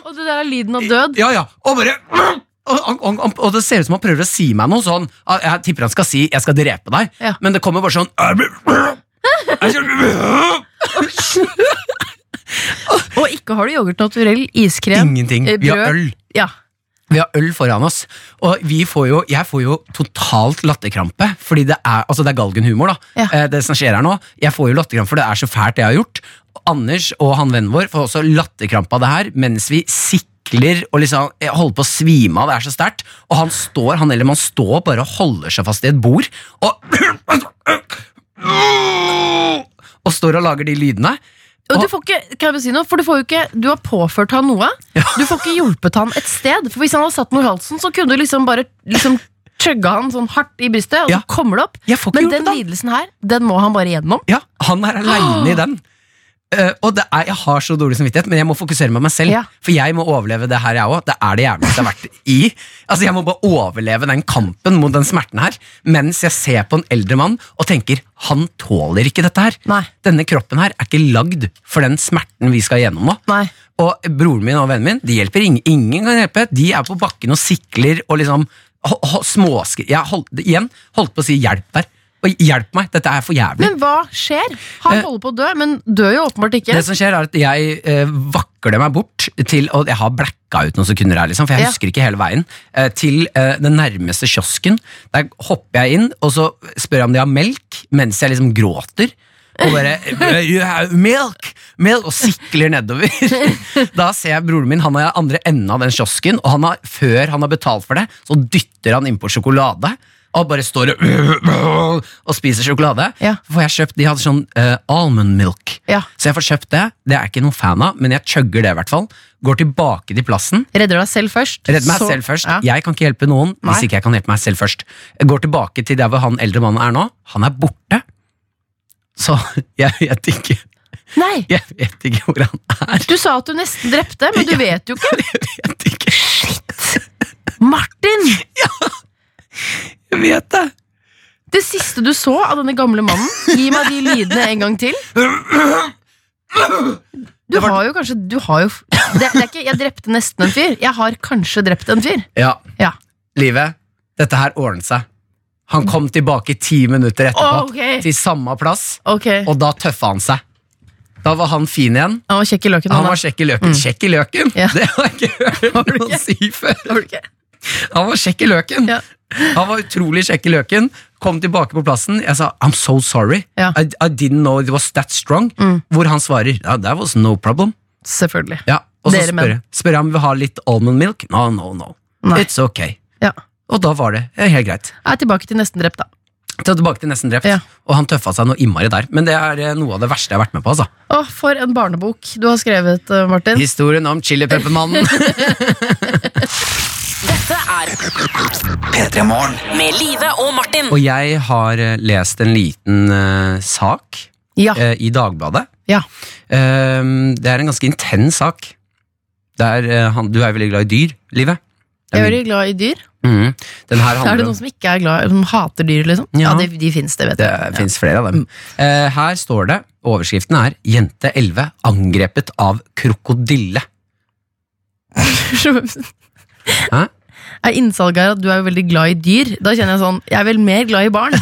B: Og det der er lyden av død.
C: Ja, ja, og bare og, og, og, og det ser ut som han prøver å si meg noe sånn ah, Jeg tipper han skal si 'jeg skal drepe deg',
B: Ja.
C: men det kommer bare sånn
B: Og ikke har du yoghurt naturell, iskrem,
C: Ingenting.
B: eh,
C: Vi har
B: brød.
C: øl.
B: Ja.
C: Vi har øl foran oss, og vi får jo, jeg får jo totalt latterkrampe. Fordi det er, altså det er galgenhumor, da.
B: Ja.
C: Eh, Det som skjer her nå. Jeg får jo latterkrampe, for det er så fælt det jeg har gjort. Anders og han vennen vår får også latterkrampe av det her, mens vi sikler og liksom jeg holder på å svime av. Det er så sterkt. Og han står, han eller man står bare og holder seg fast i et bord. Og, og står og lager de lydene.
B: Og du får ikke, kan jeg bare si noe? For du får jo ikke Du har påført han noe. Du får ikke hjulpet han et sted. For hvis han hadde satt noe i halsen, så kunne du liksom bare liksom chugga han sånn hardt i brystet, og
C: Ja.
B: så kommer det opp.
C: Jeg får ikke
B: Men
C: hjulpet
B: den
C: han.
B: lidelsen her, den må han bare gjennom.
C: Ja, han er aleine i den. Eh, og det er, Jeg har så dårlig samvittighet, men jeg må fokusere med meg selv.
B: Ja.
C: For jeg må overleve det her, jeg òg. Det er det jævligste jeg har vært i. Altså, Jeg må bare overleve den kampen mot den smerten her, mens jeg ser på en eldre mann og tenker han tåler ikke dette her.
B: Nei.
C: Denne kroppen her er ikke lagd for den smerten vi skal gjennom nå.
B: Nei.
C: Og broren min og vennen min, de hjelper ingen. Ingen kan hjelpe. De er på bakken og sikler og liksom ho- ho- småskri... Jeg holdt, igjen, holdt på å si hjelp der. Og hjelp meg, dette er for jævlig.
B: Men hva skjer? Han
C: Eh,
B: holder på å dø, men dør jo åpenbart ikke.
C: Det som skjer, er at jeg eh, vakler meg bort til Og jeg har blacka ut noen sekunder her, liksom, for jeg
B: Ja.
C: husker ikke hele veien. eh, til eh, den nærmeste kiosken. Der hopper jeg inn, og så spør jeg om de har melk, mens jeg liksom gråter. Og bare eh, you have milk, milk, og sikler nedover. da ser jeg broren min, han er i andre enden av den kiosken, og han har, før han har betalt for det, så dytter han innpå sjokolade. Og bare står og, og spiser sjokolade.
B: Ja.
C: For jeg kjøpt, De hadde sånn eh, almond milk.
B: Ja.
C: Så jeg får kjøpt det. Det er jeg ikke noen fan av, men jeg chugger det i hvert fall. Går tilbake til plassen.
B: Redder deg selv først.
C: Redder meg
B: så-
C: selv først.
B: Ja.
C: Jeg kan ikke hjelpe noen
B: Nei.
C: hvis ikke jeg kan hjelpe meg selv først. Jeg går tilbake til der hvor han eldre mannen er nå. Han er borte. Så jeg vet ikke,
B: Nei!
C: jeg vet ikke hvor han er.
B: Du sa at du nesten drepte, men du vet jo ikke.
C: Jeg vet ikke.
B: Martin!
C: Jeg vet det.
B: Det siste du så av denne gamle mannen Gi meg de lydene en gang til. Du
C: Det var-
B: har jo kanskje du har jo, det, det er ikke 'jeg drepte nesten en fyr'. Jeg har kanskje drept en fyr.
C: Ja,
B: Ja.
C: livet. Dette her ordnet seg. Han kom tilbake ti minutter etterpå.
B: Ok.
C: Til samme plass,
B: Ok.
C: og da tøffa han seg. Da var han fin igjen.
B: Han var kjekk i løken.
C: Han
B: da.
C: var kjekk i løken. Kjekk i løken?
B: Ja.
C: Det har jeg ikke hørt noen si før.
B: Var det ikke?
C: Han var kjekk i løken.
B: Ja.
C: Han var utrolig kjekk i løken. Kom tilbake på plassen. Jeg sa 'I'm so sorry'.
B: Ja. Mm.
C: I, I didn't know it was that strong. Hvor han svarer ja, 'That was no problem'.
B: Selvfølgelig.
C: Ja. Og så
B: Dere menn.
C: spør jeg, spør jeg om vi har litt almond milk. No, no, no.
B: Nei.
C: It's okay.
B: Ja.
C: Og da var det eh, helt greit.
B: Jeg er tilbake til nesten drept, da.
C: Ta tilbake til nesten drept.
B: Ja.
C: Og han tøffa seg noe innmari der. Men det er eh, noe av det verste jeg har vært med på. Altså.
B: Å, for en barnebok du har skrevet, eh, Martin.
C: Historien om chilipeppermannen.
F: Dette er
A: P3 Morgen.
F: Med Live og Martin.
C: og jeg har eh, lest en liten eh, sak
B: Ja.
C: eh, i Dagbladet.
B: ja.
C: Ehm, det er en ganske intens sak. Det er, eh, han, du er veldig glad i dyr, livet.
B: Jeg er veldig glad i dyr.
C: Mhm. Den her
B: Er det
C: handler om
B: noen som ikke er glad som hater dyr, liksom? Ja,
C: Ja.
B: de, de fins, det vet
C: Det
B: jeg.
C: finnes flere av dem. Eh, her står det, overskriften er 'Jente 11 angrepet av krokodille'. Hæ?
B: er innsalget her at du er jo veldig glad i dyr. Da kjenner jeg sånn, jeg er vel mer glad i barn.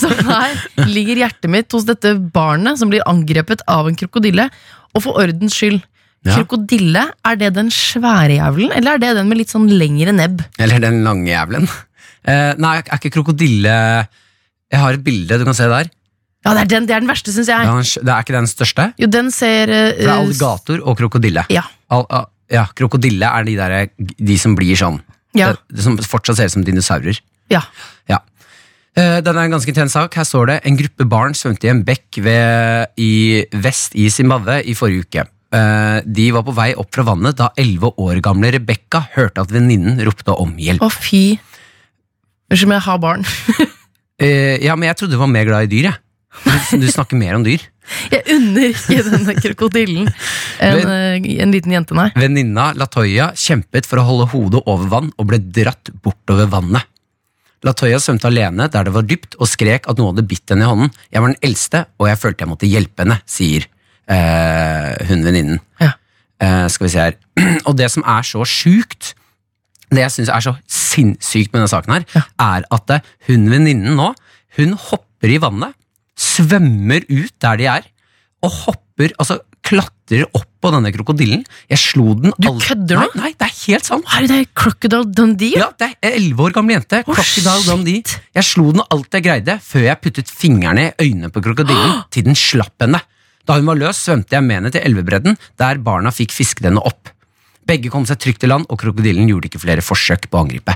B: Så her ligger hjertet mitt hos dette barnet som blir angrepet av en krokodille. Og for ordens skyld,
C: Ja.
B: krokodille, er det den svære jævelen, eller er det den med litt sånn lengre nebb?
C: Eller den lange jævelen. Eh, nei, er ikke krokodille Jeg har et bilde du kan se der.
B: Ja, det er den, det er den verste, synes jeg.
C: Ja, den- Det er ikke den største.
B: Jo, den ser... eh,
C: For det er alligator og krokodille.
B: Ja.
C: Al, al, ja, krokodille er de, der, de som blir sånn.
B: Ja.
C: Eh, Som fortsatt ser ut som dinosaurer.
B: Ja.
C: Ja. Eh, Den er en ganske intens sak. Her står det en gruppe barn svømte i en bekk ved, i vest i Zimbabwe i forrige uke. Eh, De var på vei opp fra vannet da 11 år gamle Rebekka hørte at venninnen ropte om hjelp.
B: Å fy. Unnskyld, men jeg har barn.
C: Eh, Ja, men jeg trodde du var mer glad i dyr, jeg. Du- Du snakker mer om dyr.
B: Jeg unner ikke denne krokodillen en, eh, en liten jente, nei.
C: Venninna Latoya kjempet for å holde hodet over vann og ble dratt bortover vannet. Latoya svømte alene der det var dypt og skrek at noe hadde bitt henne i hånden. Jeg var den eldste, og jeg følte jeg måtte hjelpe henne, sier eh, hun venninnen.
B: Ja.
C: Eh, skal vi se her. Og det som er så sjukt, det jeg syns er så sinnssykt med denne saken her, er at eh, hun venninnen nå, hun hopper i vannet, svømmer ut der de er, og hopper, altså klatrer opp på denne krokodillen. Jeg slo den
B: Du
C: al-
B: kødder nå?
C: Nei, nei, det er helt sant.
B: Herre, det er Crocodile Dundee,
C: Ja, det er elleve år gamle jente. Crocodile Dundee. Jeg slo den alt jeg greide, før jeg puttet fingrene i øynene på krokodillen til den slapp henne. Da hun var løs, svømte jeg med henne til elvebredden, der barna fikk fisket henne opp. Begge kom seg trygt i land, og krokodillen gjorde ikke flere forsøk på å angripe.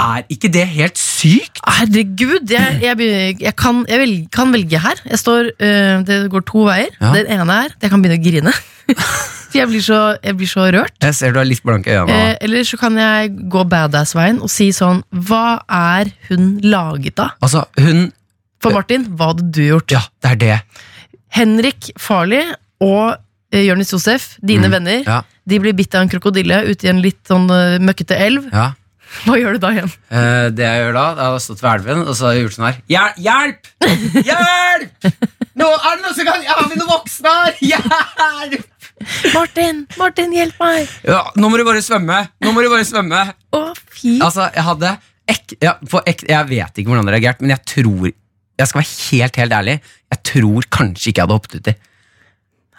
C: Er ikke det helt sykt?
B: Herregud, jeg, jeg, begynner- jeg, kan, jeg velg, kan velge her. Jeg står, øh, det går to veier.
C: Ja.
B: Den ene er at jeg kan begynne å grine. For jeg, blir så, jeg blir så rørt.
C: Jeg ser du har litt blanke øyne.
B: Eh, eller så kan jeg gå badass-veien og si sånn Hva er hun laget av?
C: Altså, hun
B: For Martin, hva hadde du gjort?
C: Ja, det er det.
B: Henrik Farley og eh, Jonis Josef, dine venner,
C: Mm. Ja,
B: de blir bitt av en krokodille ute i en litt sånn eh, møkkete elv.
C: ja.
B: Hva gjør du da igjen?
C: Eh, det jeg gjør da, da har jeg stått ved elven og så har jeg gjort sånn her. Hjel- Hjelp! Hjelp! Nå er det noen som kan Jeg har vi noen voksne her! Hjelp!
B: Martin, Martin, hjelp meg!
C: Ja, nå må du bare svømme. Nå må du bare svømme.
B: Å, fy
C: Altså, jeg hadde ek, ja, på ek, Jeg vet ikke hvordan det reagerte, men jeg tror Jeg skal være helt, helt ærlig. Jeg tror kanskje ikke jeg hadde hoppet uti.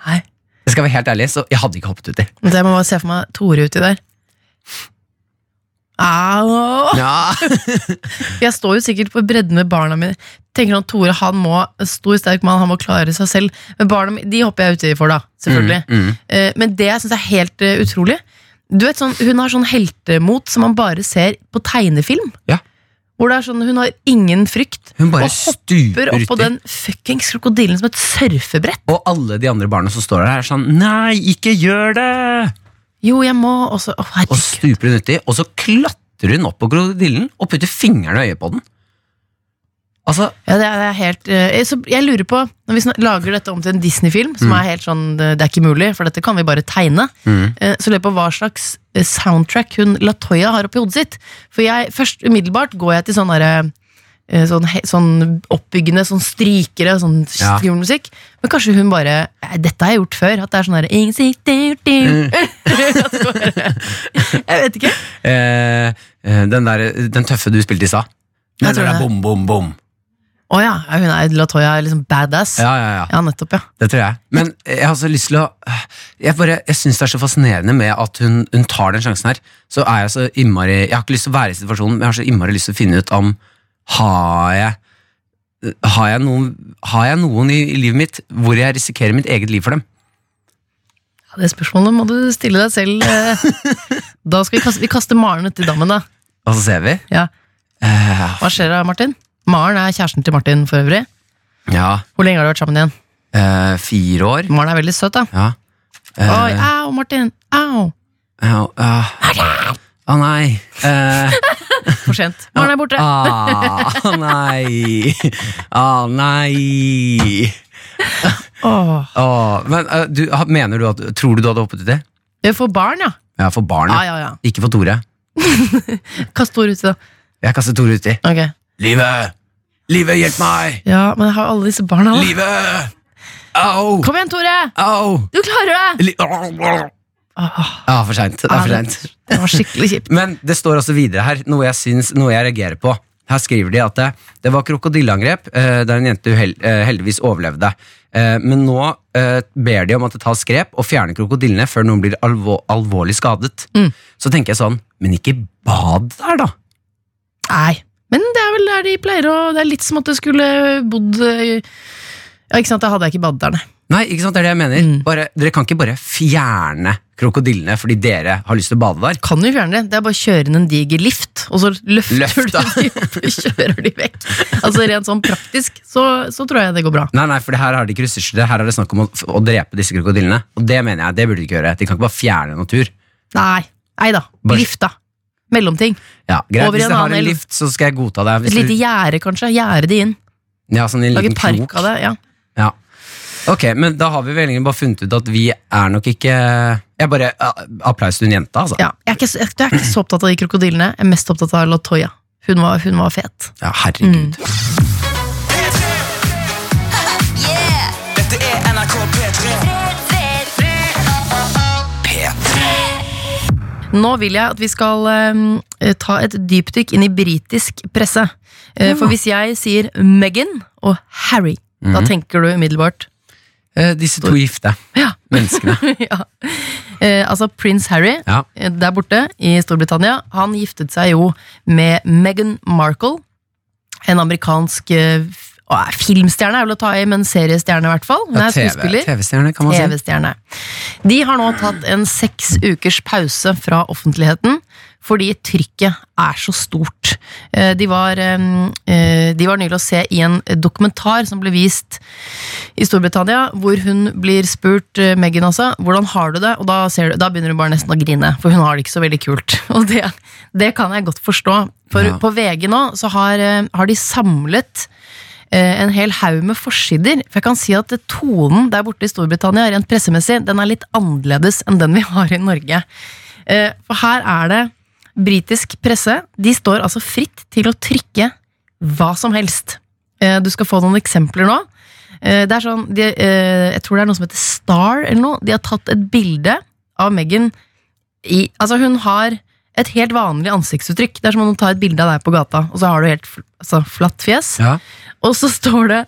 B: Nei.
C: Jeg skal være helt ærlig, så jeg hadde ikke hoppet uti.
B: Men Jeg må bare se for meg Tore uti der. Au!
C: Ja.
B: Jeg står jo sikkert på bredden med barna mine. Tenker at Tore han må, en stor sterk mann, han må klare seg selv. Men barna mine, de hopper jeg uti for, da. Selvfølgelig.
C: Mm, mm.
B: Eh, Men det jeg syns er helt eh, utrolig Du vet sånn, Hun har sånn heltemot som man bare ser på tegnefilm.
C: Ja.
B: Hvor det er sånn, Hun har ingen frykt.
C: Hun bare
B: Og Hopper
C: stuper
B: opp på
C: uti.
B: den fuckings krokodillen som et surfebrett.
C: Og alle de andre barna som står der, er sånn Nei, ikke gjør det!
B: Jo, jeg må også Å,
C: Og
B: herregud.
C: stuper hun uti, og så klatrer hun opp på krokodillen og putter fingrene i øyet på den. Altså,
B: Ja, det er, det er helt, eh, så jeg lurer på, Når vi snak- lager dette om til en Disney-film, som
C: Mm.
B: er helt sånn eh, Det er ikke mulig, for dette kan vi bare tegne.
C: mm,
B: Eh, Så lurer jeg på hva slags eh, soundtrack hun Latoya har oppi hodet sitt. For jeg, først umiddelbart går jeg til sånn derre eh, Sånn, he- sånn oppbyggende, sånn strykere, sånn
C: Ja.
B: skrivemusikk. Men kanskje hun bare "Nei, Dette har jeg gjort før. At det er sånn derre "Innsikt, du, du."
C: Mm.
B: At det bare- Jeg vet ikke.
C: eh, eh, den, der, den tøffe du spilte i stad.
B: Jeg
C: Den
B: tror
C: der er
B: det.
C: bom, bom, bom.
B: Å ja, hun er Latoya er liksom badass.
C: Ja, ja, ja.
B: ja nettopp, ja.
C: Det tror jeg. Men jeg har også lyst til å Jeg, bare- jeg syns det er så fascinerende med at hun, hun tar den sjansen her. Så er jeg så innmari Jeg har ikke lyst til å være i situasjonen, men jeg har så innmari lyst til å finne ut om Har jeg har jeg, noen, har jeg noen i, i livet mitt hvor jeg risikerer mitt eget liv for dem?
B: Ja, Det spørsmålet må du stille deg selv. eh. Da skal vi kaste, vi kaster Maren uti dammen, da.
C: Og så ser vi.
B: Ja.
C: Eh,
B: Hva skjer da, Martin? Maren er kjæresten til Martin for øvrig.
C: ja.
B: Hvor lenge har dere vært sammen igjen?
C: eh, fire år.
B: Maren er veldig søt, da.
C: Ja. Eh,
B: Oi, au, Martin! Au!
C: ja, ah. Å nei. Eh,
B: For sent. Maren er borte!
C: ah, nei. Ah, nei.
B: Åh.
C: Åh, men eh, du, ha- mener du at Tror du du hadde hoppet uti?
B: Jeg får barn, ja.
C: Ja, for
B: Ja,
C: barnet.
B: ja, ja.
C: Ikke for Tore.
B: Kast Tor uti, da.
C: Jeg kaster Tore uti.
B: Ok.
C: Livet! Livet, hjelp meg!
B: Ja, men jeg har alle disse barna, da.
C: Livet! Au!
B: Kom igjen, Tore!
C: Au!
B: Du klarer det!
C: Li ja,
B: Åh,
C: for seint. Det er for seint.
B: det var skikkelig kjipt.
C: Men det står også videre her, noe jeg, syns, noe jeg reagerer på. Her skriver de at det, det var krokodilleangrep eh, der en jente uhel, eh, heldigvis overlevde. Eh, men nå eh, ber de om at det tas grep og fjerner krokodillene før noen blir alvor, alvorlig skadet.
B: Mm.
C: Så tenker jeg sånn, men ikke bad der, da!
B: Nei. Men det er vel der de pleier å Det er litt som at du skulle bodd eh, Ja, ikke sant, da hadde jeg ikke badet der, nei.
C: Nei, ikke sant, det er det jeg mener.
B: Mm.
C: Bare, dere kan ikke bare fjerne krokodillene fordi dere har lyst til å bade der.
B: kan jo fjerne det. Det er bare å kjøre inn en diger lift, og så løfter
C: Løft, da.
B: du de opp og kjører de vekk. Altså Rent sånn praktisk så, så tror jeg det går bra.
C: Nei, nei, for det her har de ikke ressurser til. Her er det snakk om å, å drepe disse krokodillene. Og det mener jeg, det burde de ikke gjøre. De kan ikke bare fjerne natur.
B: Nei, nei da.
C: Bare-
B: Lift, da. Mellomting.
C: Ja, greit,
B: Over i en
C: Hvis det har
B: annen
C: en
B: elv.
C: lift, så skal jeg godta det.
B: Et
C: Hvis
B: lite gjerde, kanskje. Gjerde det inn.
C: du, ja, sånn i en
B: Lage
C: liten krok.
B: park av det. ja.
C: Ja. Ok, men da har vi vel egentlig bare funnet ut at vi er nok ikke Jeg bare a- Applaus til hun jenta, altså.
B: ja. Jeg, er ikke, så- jeg er ikke så opptatt av de krokodillene. Jeg er mest opptatt av Latoya. Hun var, hun var fet.
C: Ja, herregud.
B: Mm.
A: Dette er NRK P3. P3.
B: Nå vil jeg at vi skal eh, ta et dypdykk inn i britisk presse. Eh, For hvis jeg sier Meghan og Harry, da
C: Mhm.
B: tenker du umiddelbart
C: Eh, disse to gifte
B: Ja.
C: menneskene.
B: ja. eh, altså prins Harry
C: Ja.
B: eh, der borte i Storbritannia, han giftet seg jo med Meghan Markle, en amerikansk eh, f- å, filmstjerne, er vel å ta i, men seriestjerne i hvert fall. Hun
C: Ja,
B: er skuespiller.
C: TV-stjerne, kan man si.
B: TV-stjerne. De har nå tatt en seks ukers pause fra offentligheten fordi trykket er så stort. Eh, De var, eh, eh, de var nylig å se i en dokumentar som ble vist i Storbritannia, hvor hun blir spurt, eh, Meghan altså, hvordan har du det? Og da, ser du, da begynner hun bare nesten å grine, for hun har det ikke så veldig kult. Og det, det kan jeg godt forstå. For
C: Ja.
B: på VG nå så har, eh, har de samlet eh, en hel haug med forsider. For jeg kan si at tonen der borte i Storbritannia rent pressemessig, den er litt annerledes enn den vi har i Norge. Eh, For her er det britisk presse. De står altså fritt til å trykke hva som helst. Eh, Du skal få noen eksempler nå. Eh, Det er sånn, de, eh, Jeg tror det er noe som heter Star eller noe. De har tatt et bilde av Meghan i Altså, hun har et helt vanlig ansiktsuttrykk. Det er som om du tar et bilde av deg på gata, og så har du helt fl altså, flatt fjes.
C: Ja.
B: Og så står det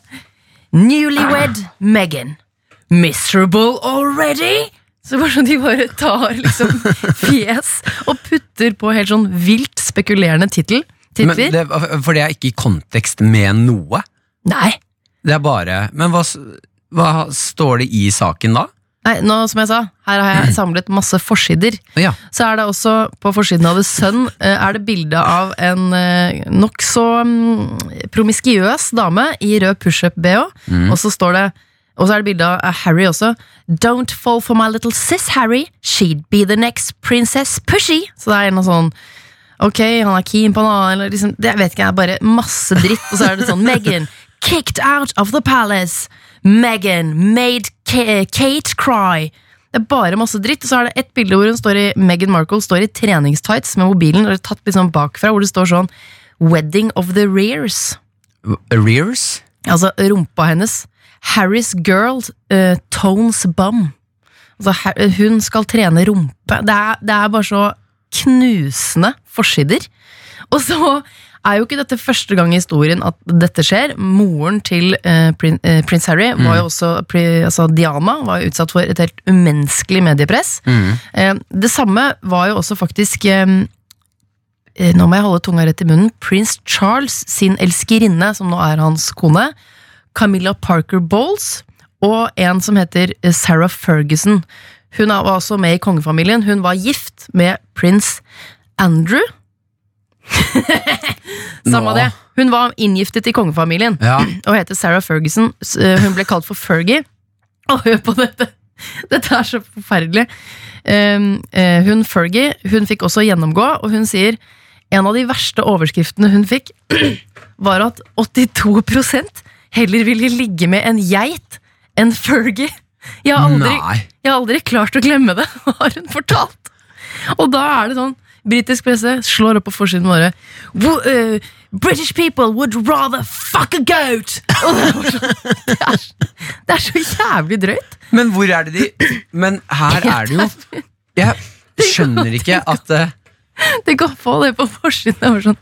B: Newlywed Megan. Miserable already? Så bare sånn de bare tar liksom fjes og putter på helt sånn vilt spekulerende tittel.
C: Men
B: Titler.
C: det, for det er ikke i kontekst med noe.
B: Nei.
C: Det er bare Men hva, s- hva står det i saken da?
B: Nei, nå som jeg sa, her har jeg samlet masse forsider.
C: Ja.
B: Så er det også, på forsiden av The Sun, eh, er det bilde av en eh, nokså mm, promiskiøs dame i rød pushup-BH, og så står det og så er det bilde av eh, Harry også. Don't fall for my little sis, Harry. She'd be the next princess pushy. Så det er en sånn Ok, han er keen på en annen eller liksom, Det vet ikke jeg, bare masse dritt Og så er det sånn, Meghan, kicked out of the palace Meghan, made Ka- Kate cry Det er bare masse dritt Og så er det et bilde hvor hun står i Meghan Markle står i treningstights med mobilen Og det er tatt litt sånn bakfra hvor det står sånn Wedding of the rears
C: Arrears?
B: Altså rumpa hennes Harry's girl, eh, Tones bum altså, Har- Hun skal trene rumpe det er, det er bare så knusende forsider Og så er jo ikke dette første gang i historien at dette skjer Moren til eh, prin, eh, prins Harry var jo også pri, altså Diana var jo utsatt for et helt umenneskelig mediepress Eh, Det samme var jo også faktisk eh, eh, nå må jeg holde tunga rett i munnen, prins Charles sin elskerinne, som nå er hans kone, Camilla Parker Bowles, og en som heter eh, Sarah Ferguson. Hun er- var også med i kongefamilien. Hun var gift med prins Andrew. Samme
C: Nå.
B: det. Hun var inngiftet i kongefamilien
C: Ja.
B: og heter Sarah Ferguson. S- eh, Hun ble kalt for Fergie. Og hør på dette! Dette er så forferdelig. Um, eh, Hun Fergie hun fikk også gjennomgå, og hun sier en av de verste overskriftene hun fikk, var at 82 heller ville ligge med en geit enn Fergie. Jeg har aldri,
C: Nei.
B: jeg har aldri klart å glemme det, har hun fortalt. Og da er det sånn Britisk presse slår opp på forsiden våre "Wo- eh, British people would rather fuck a goat! Og det, er bare sånn, det, er, det er så jævlig drøyt.
C: Men hvor er det de Men her er det jo Jeg skjønner ikke at eh,
B: Tenk å få det på forsiden. Det var sånn,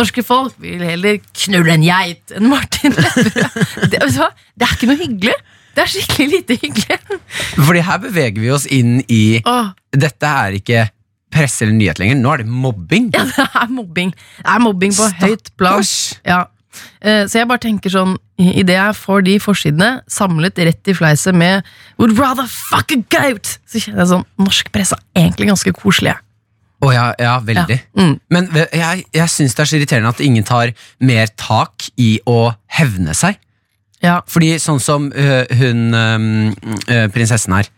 B: Norske folk vil heller knulle en geit enn Martin Lepperød. Det, vet du hva? det er ikke noe hyggelig. Det er skikkelig lite hyggelig.
C: Fordi her beveger vi oss inn i
B: Åh,
C: Dette er ikke presse eller nyhet lenger. Nå er det mobbing.
B: ja, det er mobbing. Det er mobbing på høyt plan.
C: Stakkars.
B: Ja. Eh, Så jeg bare tenker sånn Idet jeg får de forsidene samlet rett i fleiset med Would rather fuck a goat! Så kjenner jeg sånn Norsk presse er egentlig ganske koselig. jeg.
C: Å ja, ja, veldig.
B: Ja. Mm.
C: Men ve- jeg, jeg syns det er så irriterende at ingen tar mer tak i å hevne seg.
B: Ja.
C: Fordi sånn som øh, hun øhm, øh, prinsessen her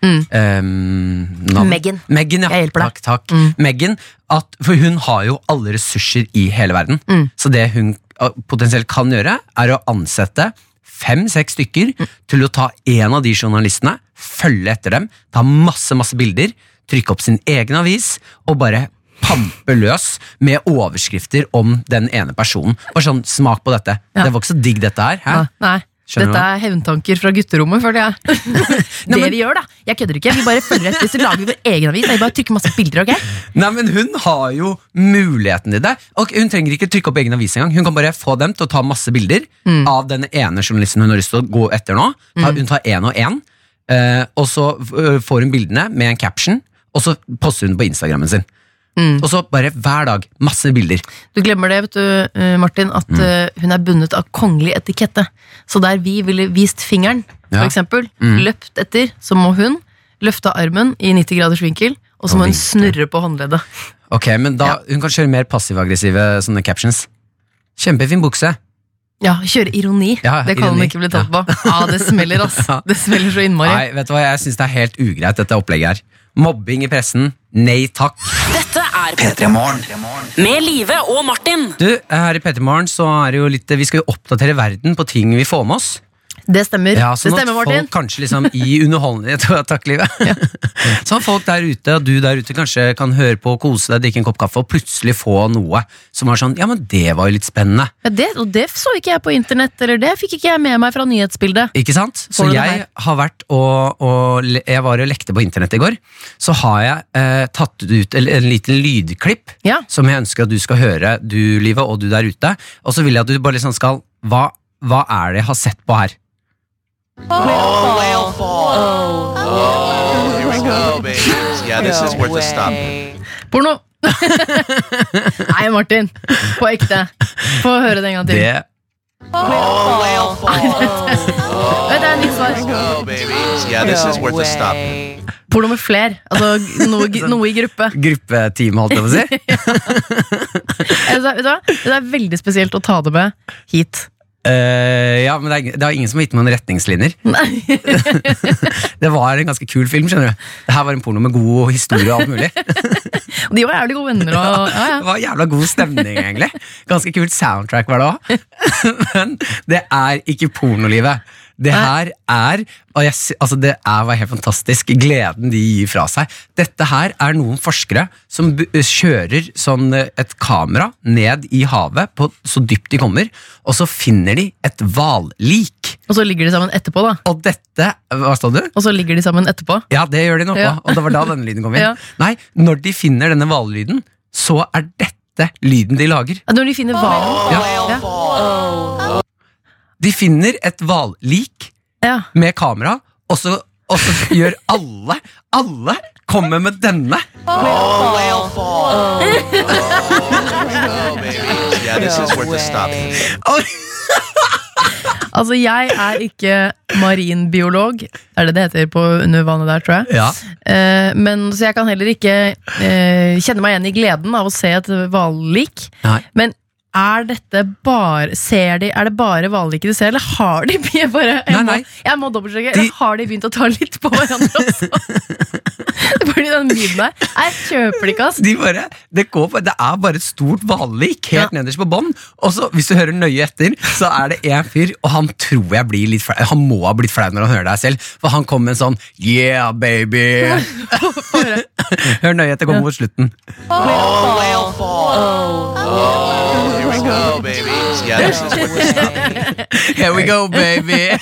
C: øhm, navn-
B: Mm. Meghan.
C: Meghan, ja.
B: Jeg hjelper deg. Mm.
C: Takk, takk. Meghan, at, for hun har jo alle ressurser i hele verden.
B: Mm.
C: Så det hun øh, potensielt kan gjøre, er å ansette fem-seks stykker
B: Mm.
C: til å ta en av de journalistene, følge etter dem, ta masse, masse bilder, trykke opp sin egen avis og bare pampe løs med overskrifter om den ene personen. Bare sånn, smak på dette.
B: Ja.
C: Det var ikke så digg dette her. Hæ?
B: Nei. nei.
C: Skjønner
B: Dette
C: du?
B: er hevntanker fra gutterommet, føler jeg. det
C: Nei, men-
B: vi gjør, da. Jeg kødder ikke. Vi bare følger etter, så lager vi vår egen avis. Jeg bare trykker masse bilder, ok?
C: Nei, men Hun har jo muligheten i det. Og Hun trenger ikke trykke opp egen avis engang. Hun kan bare få dem til å ta masse bilder av den ene journalisten hun har lyst til å gå etter nå. Ta, Hun tar én og én, eh, og så øh, får hun bildene med en caption, og så poster hun på Instagrammen sin. Og så bare hver dag. Masse bilder.
B: Du glemmer det, vet du, eh, Martin, at
C: Mm.
B: eh, hun er bundet av kongelig etikette. Så der vi ville vist fingeren,
C: Ja. Mm.
B: for eksempel, løpt etter, så må hun løfte armen i 90 graders vinkel, og så
C: Og
B: må hun
C: vinke.
B: snurre på håndleddet.
C: Ok, men da, Hun kan kjøre mer passiv-aggressive sånne captions. Kjempefin bukse.
B: Ja, kjøre ironi.
C: Ja,
B: det kan hun
C: ironi.
B: ikke bli tatt på. Ja, det smeller, ass.
C: Ja.
B: Det smeller så innmari.
C: Nei, vet du hva, Jeg syns det er helt ugreit, dette opplegget her. Mobbing i pressen. Nei takk.
F: Dette er
A: P3 Morgen.
F: Med Live og Martin.
C: Du, her i Petermorgen så er det jo litt Vi skal jo oppdatere verden på ting vi får med oss.
B: Det stemmer.
C: Ja, sånn
B: det stemmer,
C: at
B: Martin.
C: folk kanskje liksom i underholdenhet og takk livet. Sånn at folk der ute, og du der ute, kanskje kan høre på, kose deg, drikke en kopp kaffe og plutselig få noe som var sånn Ja, men det var jo litt spennende.
B: Ja, det, og det så ikke jeg på internett, eller det fikk ikke jeg med meg fra nyhetsbildet.
C: Ikke sant? Så
B: Får du det
C: jeg
B: her?
C: har vært og, og le- Jeg var og lekte på internett i går. Så har jeg eh, tatt ut en, en liten lydklipp
B: Ja.
C: som jeg ønsker at du skal høre, du Livet, og du der ute. Og så vil jeg at du bare liksom skal Hva, hva er det jeg har sett på her?
G: Here we go, baby. Yeah, this is worth a stop.
B: Porno! Nei, Martin. På ekte. Få høre det en gang til.
C: Det
B: Vet du, Det er nytt svar.
G: Go, baby. Yeah, this is worth a stop.
B: Porno med fler. Altså noe, noe i gruppe.
C: gruppeteamet, holdt jeg på å si.
B: Altså, vet du hva? Det er veldig spesielt å ta det med hit.
C: Eh, ja, men det er, det er ingen som har gitt meg noen retningslinjer.
B: Nei.
C: Det var en ganske kul film, skjønner du. Det her var en porno med god historie og alt mulig.
B: De var jævlig gode venner. Og, ja,
C: Det
B: ja.
C: var jævla god stemning, egentlig. Ganske kult soundtrack var det òg. Men det er ikke pornolivet. Det her er og jeg, sy- altså Det er var helt fantastisk, gleden de gir fra seg. Dette her er noen forskere som bu- kjører sånn eh, et kamera ned i havet, på, så dypt de kommer, og så finner de et hvallik.
B: og så ligger de sammen etterpå, da.
C: Og dette Hva sa du?
B: Og så ligger de sammen etterpå.
C: Ja, det gjør de nok,
B: Ja.
C: da. og det var da denne lyden kom inn.
B: Ja.
C: Nei, når de finner denne hvallyden, så er dette lyden de lager.
B: Ja, Når de finner hvalen. Ja.
C: De finner et hvallik
B: Ja.
C: med kamera, og så, og så gjør alle Alle kommer med denne!
G: Go, baby. Yeah, this is worth a stop.
C: Og,
B: Altså, jeg er ikke marinbiolog. Er det det heter på under vannet der, tror jeg.
C: ja.
B: Eh, men, så jeg kan heller ikke eh, kjenne meg igjen i gleden av å se et hvallik.
C: Nei.
B: Men er dette bare ser de, Er det bare hvalliket de ser, eller har de jeg bare, jeg
C: Nei,
B: må,
C: nei.
B: jeg må dobbeltsjekke.
C: De-
B: eller Har de begynt å ta litt på hverandre også? Fordi den lyden der Jeg kjøper det ikke, ass.
C: De bare, det, går bare, det er bare et stort hvallik helt nederst på bånn. Og så, hvis du hører nøye etter, så er det en fyr, og han tror jeg blir litt flau. Han må ha blitt flau når han hører deg selv, for han kom med en sånn 'yeah, baby'. Hør nøye etter, kommer mot slutten.
G: Here we go, baby. Yeah, this is worth a stop.
C: Here we go, baby!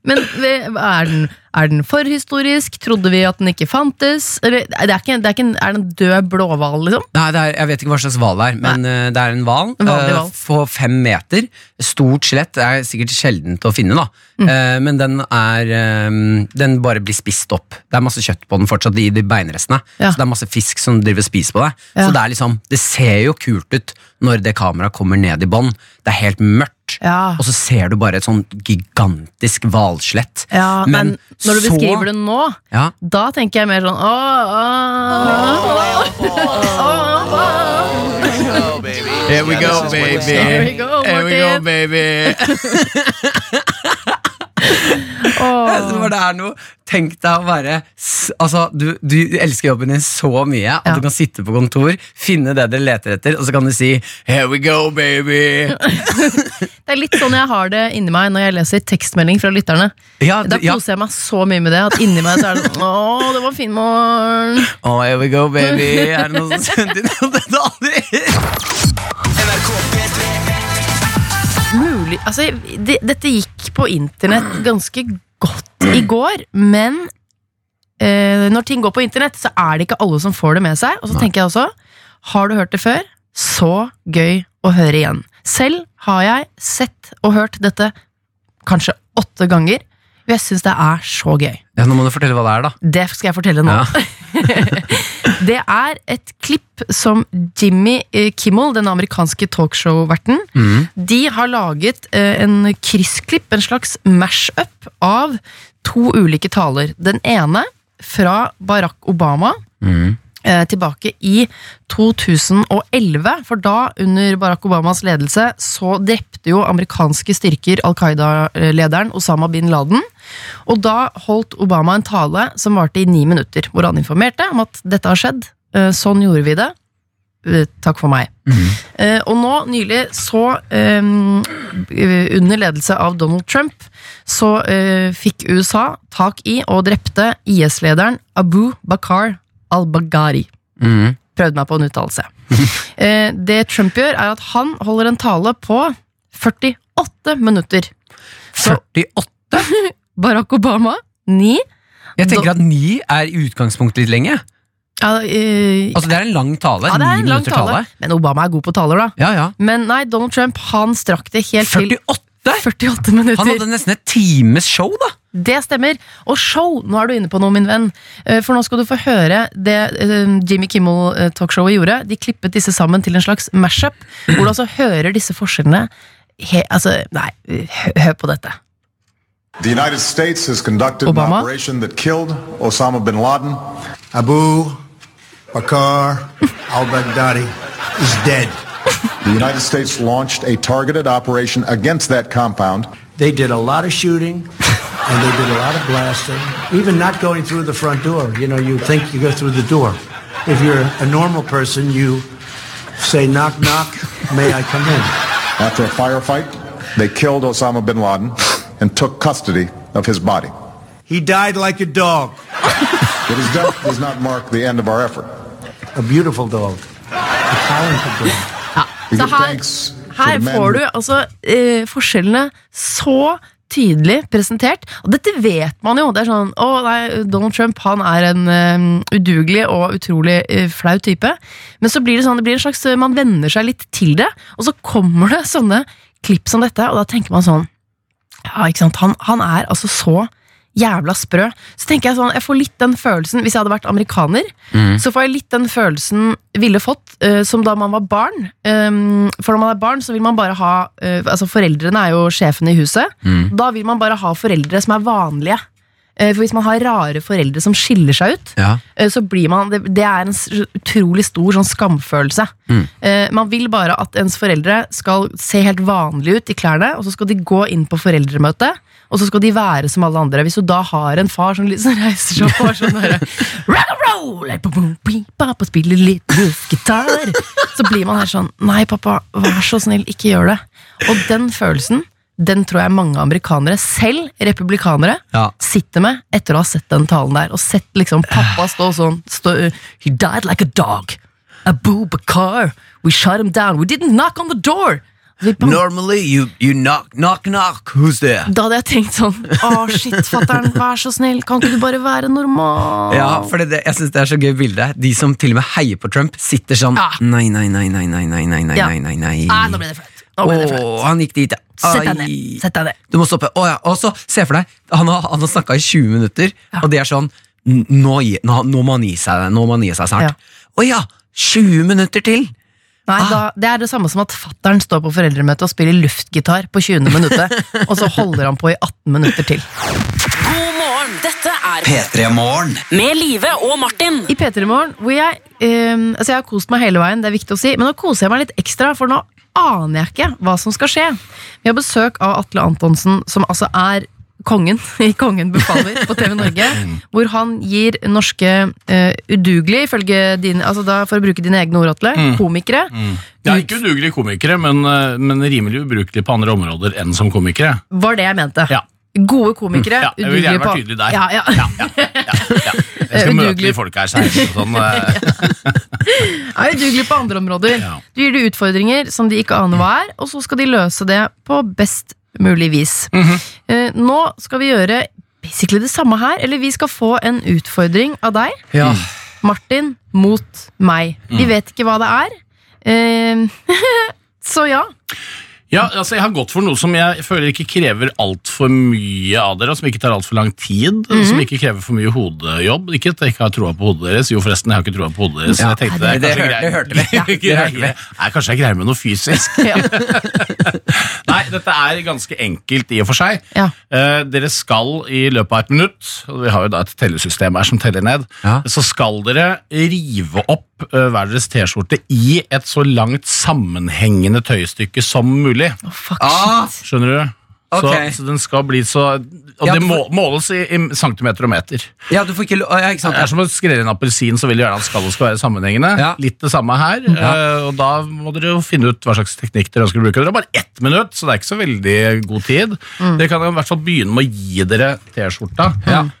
B: Men eh, er den, er den forhistorisk? Trodde vi at den ikke fantes? Eller, det er, ikke, det er, ikke en, er det en død blåhval, liksom?
C: Nei, det er, Jeg vet ikke hva slags hval det er, men eh, det er en hval.
B: En vanlig
C: eh,
B: hval.
C: På fem meter. Stort skjelett. Det er sikkert sjeldent å finne, da.
B: Mm.
C: Eh, men den er eh, Den bare blir spist opp. Det er masse kjøtt på den fortsatt, i de beinrestene.
B: Ja.
C: Så det er masse fisk som driver og spiser på deg.
B: Ja.
C: Så det er liksom Det ser jo kult ut når det kameraet kommer ned i bånn. Det er helt mørkt.
B: Ja.
C: Og så ser du bare et sånn gigantisk hvalskjelett.
B: Ja, men, når du
C: så-
B: beskriver det nå,
C: ja,
B: da tenker jeg mer sånn åh, åh,
G: Go, baby.
C: Here we
G: Yeah,
C: go,
G: this is worth a
C: baby.
G: stop.
B: Here we go,
C: Here we
B: Martin.
C: go, baby!
B: åh.
C: Altså, når det er noe, tenk deg å være s- altså, du, du elsker jobben din så mye at
B: Ja.
C: du kan sitte på kontor, finne det dere leter etter, og så kan du si 'Here we go, baby'.
B: Det er litt sånn jeg har det inni meg når jeg leser tekstmelding fra lytterne.
C: Ja,
B: Da
C: du, ja.
B: koser jeg meg så mye med det at inni meg så er det sånn åh, det var en fin morgen.
C: Oh, 'Here we go, baby'. Er det noen som sendte inn om dette aldri?
B: Mulig, altså, det, dette gikk på internett ganske godt i går, men eh, når ting går på internett, så er det ikke alle som får det med seg. Og så tenker jeg også, har du hørt det før? Så gøy å høre igjen. Selv har jeg sett og hørt dette kanskje åtte ganger. og Jeg syns det er så gøy.
C: Ja, nå må du fortelle hva det er, da.
B: Det skal jeg fortelle nå. Det er et klipp som Jimmy eh, Kimmel, den amerikanske talkshow-verten, de har laget eh, en kryssklipp, en slags mash-up, av to ulike taler. Den ene fra Barack Obama. eh, Tilbake i 2011, for da, under Barack Obamas ledelse, så drepte jo amerikanske styrker Al Qaida-lederen Osama bin Laden. Og da holdt Obama en tale som varte i ni minutter, hvor han informerte om at dette har skjedd, eh, sånn gjorde vi det. eh, takk for meg. Eh, og nå nylig så eh, Under ledelse av Donald Trump så eh, fikk USA tak i og drepte IS-lederen Abu Bakar al-Baghari.
C: Mhm.
B: Prøvde meg på en uttalelse. Eh, det Trump gjør, er at han holder en tale på 48 minutter. Så
C: 48?
B: Barack Obama 9.
C: Jeg tenker at ni er i utgangspunktet litt lenge.
B: Ja, eh,
C: Altså, det er en lang tale.
B: ja, det er
C: ni
B: en lang
C: minutter
B: tale. Men Obama er god på taler, da.
C: Ja, ja.
B: Men nei, Donald Trump han strakk det helt til
C: 48?
B: 48 minutter.
C: Han hadde nesten et times show, da!
B: Det stemmer. Og show, nå er du inne på noe, min venn. Eh, For nå skal du få høre det eh, Jimmy Kimmel-talkshowet gjorde. De klippet disse sammen til en slags mashup, hvor du altså hører disse forskjellene. He, altså, nei, hø- hør på dette.
H: The United States has conducted an
B: Obama?
H: operation that killed Osama bin Laden.
I: Abu Bakar al-Baghdadi is dead.
H: The United States launched a targeted operation against that compound.
I: They did a lot of shooting and they did a lot of blasting, even not going through the front door. You know, you think you go through the door. If you're a normal person, you say knock knock, may I come in?
H: After a firefight, they killed Osama bin Laden and took custody of his body.
I: He died like a dog,
H: But his death does not mark the end of our effort.
I: a beautiful dog, a talented dog.
H: We
B: Så
H: give
B: her,
H: thanks to
B: her
H: the men
B: får
H: who-
B: du altså eh, forskjellene så tydelig presentert. Og dette vet man jo. Det er sånn Å nei, Donald Trump han er en eh, udugelig og utrolig eh, flau type. Men så blir det sånn, det blir en slags eh, Man venner seg litt til det, og så kommer det sånne klipp som dette, og da tenker man sånn Ja, ikke sant. Han, han er altså så Jævla sprø. Så tenker jeg sånn, jeg får litt den følelsen Hvis jeg hadde vært amerikaner, så får jeg litt den følelsen ville fått eh, som da man var barn. Ehm, for når man er barn, så vil man bare ha eh, Altså, foreldrene er jo sjefen i huset. Da vil man bare ha foreldre som er vanlige. Eh, for hvis man har rare foreldre som skiller seg ut,
C: Ja.
B: eh, så blir man Det, det er en s- utrolig stor sånn skamfølelse. Eh, man vil bare at ens foreldre skal se helt vanlige ut i klærne, og så skal de gå inn på foreldremøte. Og så skal de være som alle andre. Hvis du da har en far som liksom reiser seg opp og er sånn der, Rock and roll! eller bom, bom, bing, bap, og spiller litt luftgitar, så blir man her sånn Nei, pappa, vær så snill, ikke gjør det. Og den følelsen, den tror jeg mange amerikanere, selv republikanere,
C: Ja.
B: sitter med etter å ha sett den talen der, og sett liksom pappa stå sånn stå, He died like a dog. Abu Bakar. We shut him down. We didn't knock on the door. Vi bank-
C: Normally you, knock, knock, knock, who's there?
B: Da hadde jeg tenkt sånn Å, shit, fatter'n, vær så snill, kan ikke du bare være normal?
C: Ja, for det, det, jeg synes det er så gøy bilde. De som til og med heier på Trump, sitter sånn
B: Ja.
C: Nei, nei, nei, nei, nei, nei, nei, nei,
B: Ja.
C: nei, nei, nei.
B: Ah, nå ble det flaut. Nå ble det flaut.
C: Åh, han gikk dit, ja.
B: Sett deg ned.
C: Ai.
B: Sett deg ned.
C: Du må stoppe. Å, ja. Og så, se for deg, han har, han har snakka i 20 minutter, og det er sånn n- Nå, gi- nå, nå må han gi seg, nå må han gi seg snart. Å ja! 20 minutter til!
B: Nei, da, Det er det samme som at fattern står på foreldremøte og spiller luftgitar på 20. minuttet, og så holder han på i 18 minutter til.
F: God morgen. Dette er
A: P3 Morgen.
F: Med Live og Martin.
B: I P3 Morgen, hvor jeg ehm, Altså, jeg har kost meg hele veien, det er viktig å si, men nå koser jeg meg litt ekstra, for nå aner jeg ikke hva som skal skje. Vi har besøk av Atle Antonsen, som altså er kongen i Kongen befaler på TV Norge, hvor han gir norske eh, udugelige, ifølge dine Altså da, for å bruke dine egne ord, Atle,
J: Mm.
B: komikere.
J: Jeg er ikke udugelige komikere, men, eh, men rimelig ubrukelige på andre områder enn som komikere.
B: Var det jeg mente.
J: Ja.
B: Gode komikere.
J: Ja, jeg vil
B: udugelige
J: gjerne
B: på-
J: være tydelig der.
B: Ja, ja.
J: Ja, ja, ja, ja. Jeg skal møte de folka her seinere. Sånn, eh,
B: er udugelige på andre områder.
J: Ja.
B: Du gir dem utfordringer som de ikke aner hva er, og så skal de løse det på best mulig vis.
C: Mhm.
B: Eh, Nå skal vi gjøre basically det samme her, eller vi skal få en utfordring av deg, Mm.
C: Ja. Mm.
B: Martin, mot meg. Vi vet ikke hva det er. Eh, Så ja.
J: ja, altså Jeg har gått for noe som jeg føler ikke krever altfor mye av dere, og som ikke tar altfor lang tid,
C: Mhm.
J: som ikke krever for mye hodejobb. Ikke at jeg ikke har troa på hodet deres. Jo, forresten, jeg har ikke troa på hodet deres.
C: Ja,
J: jeg tenkte
C: det- det
J: er kanskje
C: hørte-
J: grei-
C: det hørte vi. Ja, det hørte vi.
J: greie- Nei, Kanskje jeg greier med noe fysisk.
B: ja.
J: Nei, dette er ganske enkelt i og for seg.
B: Ja.
J: Eh, dere skal i løpet av et minutt, og vi har jo da et tellesystem her som teller ned,
C: Ja.
J: så skal dere rive opp eh, hver deres T-skjorte i et så langt sammenhengende tøystykke som mulig.
B: Fuck,
C: Ah,
B: shit.
J: Skjønner du? Så,
K: Ok.
J: så den skal bli så Og
K: Ja,
J: det
K: du
J: må,
K: får-
J: måles i, i centimeter og meter.
K: Ja, du får ikke lov ja, ikke sant?
J: Det er som å skrelle en appelsin, så vil du gjerne at skallet skal være sammenhengende.
K: Ja.
J: Litt det samme her. eh, Og da må dere jo finne ut hva slags teknikk dere ønsker å bruke. Dere har bare ett minutt, så det er ikke så veldig god tid. Dere kan jo i hvert fall begynne med å gi dere T-skjorta,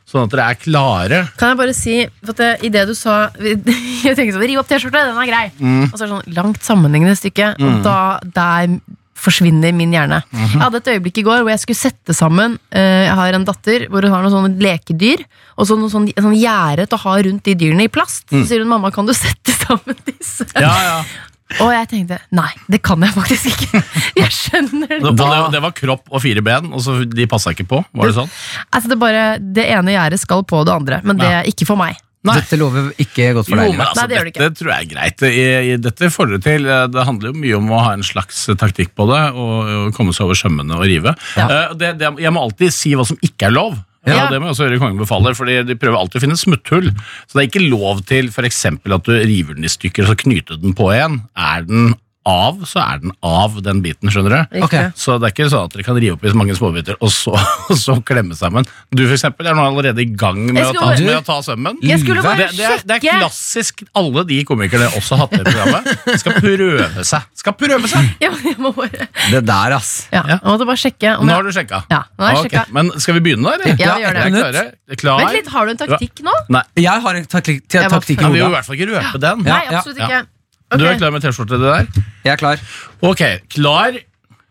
J: sånn at dere er klare.
B: Kan jeg bare si, for at det, i det du sa Jeg tenkte sånn, riv opp T-skjorta, den er grei
J: Mm.
B: Og så er det sånn langt sammenhengende stykke Og da, der forsvinner min hjerne
J: Mhm.
B: Jeg hadde et øyeblikk i går hvor jeg skulle sette sammen eh, Jeg har en datter hvor hun har noen sånne lekedyr Og så noen sånn, sånn gjære til å ha rundt de dyrene i plast Så sier hun, mamma kan du sette sammen disse?
J: Ja, Mm. ja.
B: Og jeg tenkte, nei, det kan jeg faktisk ikke Jeg skjønner det
J: Det, det, det var kropp og fire ben, og så de passa ikke på. Var det sånn?
B: Altså det, er bare, det ene gjerdet skal på det andre, men det er ikke for meg.
C: Dette lover ikke godt
J: Jo,
C: for deg.
J: men
C: Livet.
J: altså,
B: Nei, det gjør det
J: dette tror jeg er greit. I, i, dette får dere til. Eh, Det handler jo mye om å ha en slags eh, taktikk på det, og, og komme seg over sømmene og rive. Eh, det, det, jeg må alltid si hva som ikke er lov.
B: Ja.
J: Og det må jeg også gjøre i Kongen befaler, fordi de prøver alltid å finne smutthull. Så det er ikke lov til for eksempel at du river den i stykker og så knyter du den på igjen. Er den av, så er den av, den biten, skjønner du?
C: Ok.
J: Så det er ikke sånn at dere kan rive opp i så mange småbiter og så, og så klemme sammen. Du for eksempel er nå allerede i gang med,
B: Jeg
J: å ta,
B: skulle-
J: med å ta sømmen.
B: Jeg skulle bare
J: Det, det, er, det er
B: sjekke.
J: klassisk. Alle de komikerne også har hatt det i programmet. Skal prøve seg. Skal prøve seg!
B: Jeg, jeg må bare
C: Det der, ass.
B: Ja,
J: Ja.
B: jeg måtte bare sjekke om
J: Nå
B: jeg...
J: har du sjekka.
B: Ja, nå har jeg
J: Ok,
B: sjekka.
J: Men skal vi begynne, da? eller?
B: Ja, vi gjør det.
J: Er dere klare? Er dere Klar?
B: Vent litt, har du en taktikk nå?
J: Nei,
C: Jeg har en taktikk, ta-
B: Jeg var
C: taktikk i
J: ja, vi vil i
C: hodet.
J: hvert fall ikke røpe den.
B: Nei,
C: ja,
B: absolutt
J: ja.
B: ikke.
J: Du
B: Ok.
J: er klar med T-skjorte, det der?
C: Jeg er klar.
J: Ok, klar,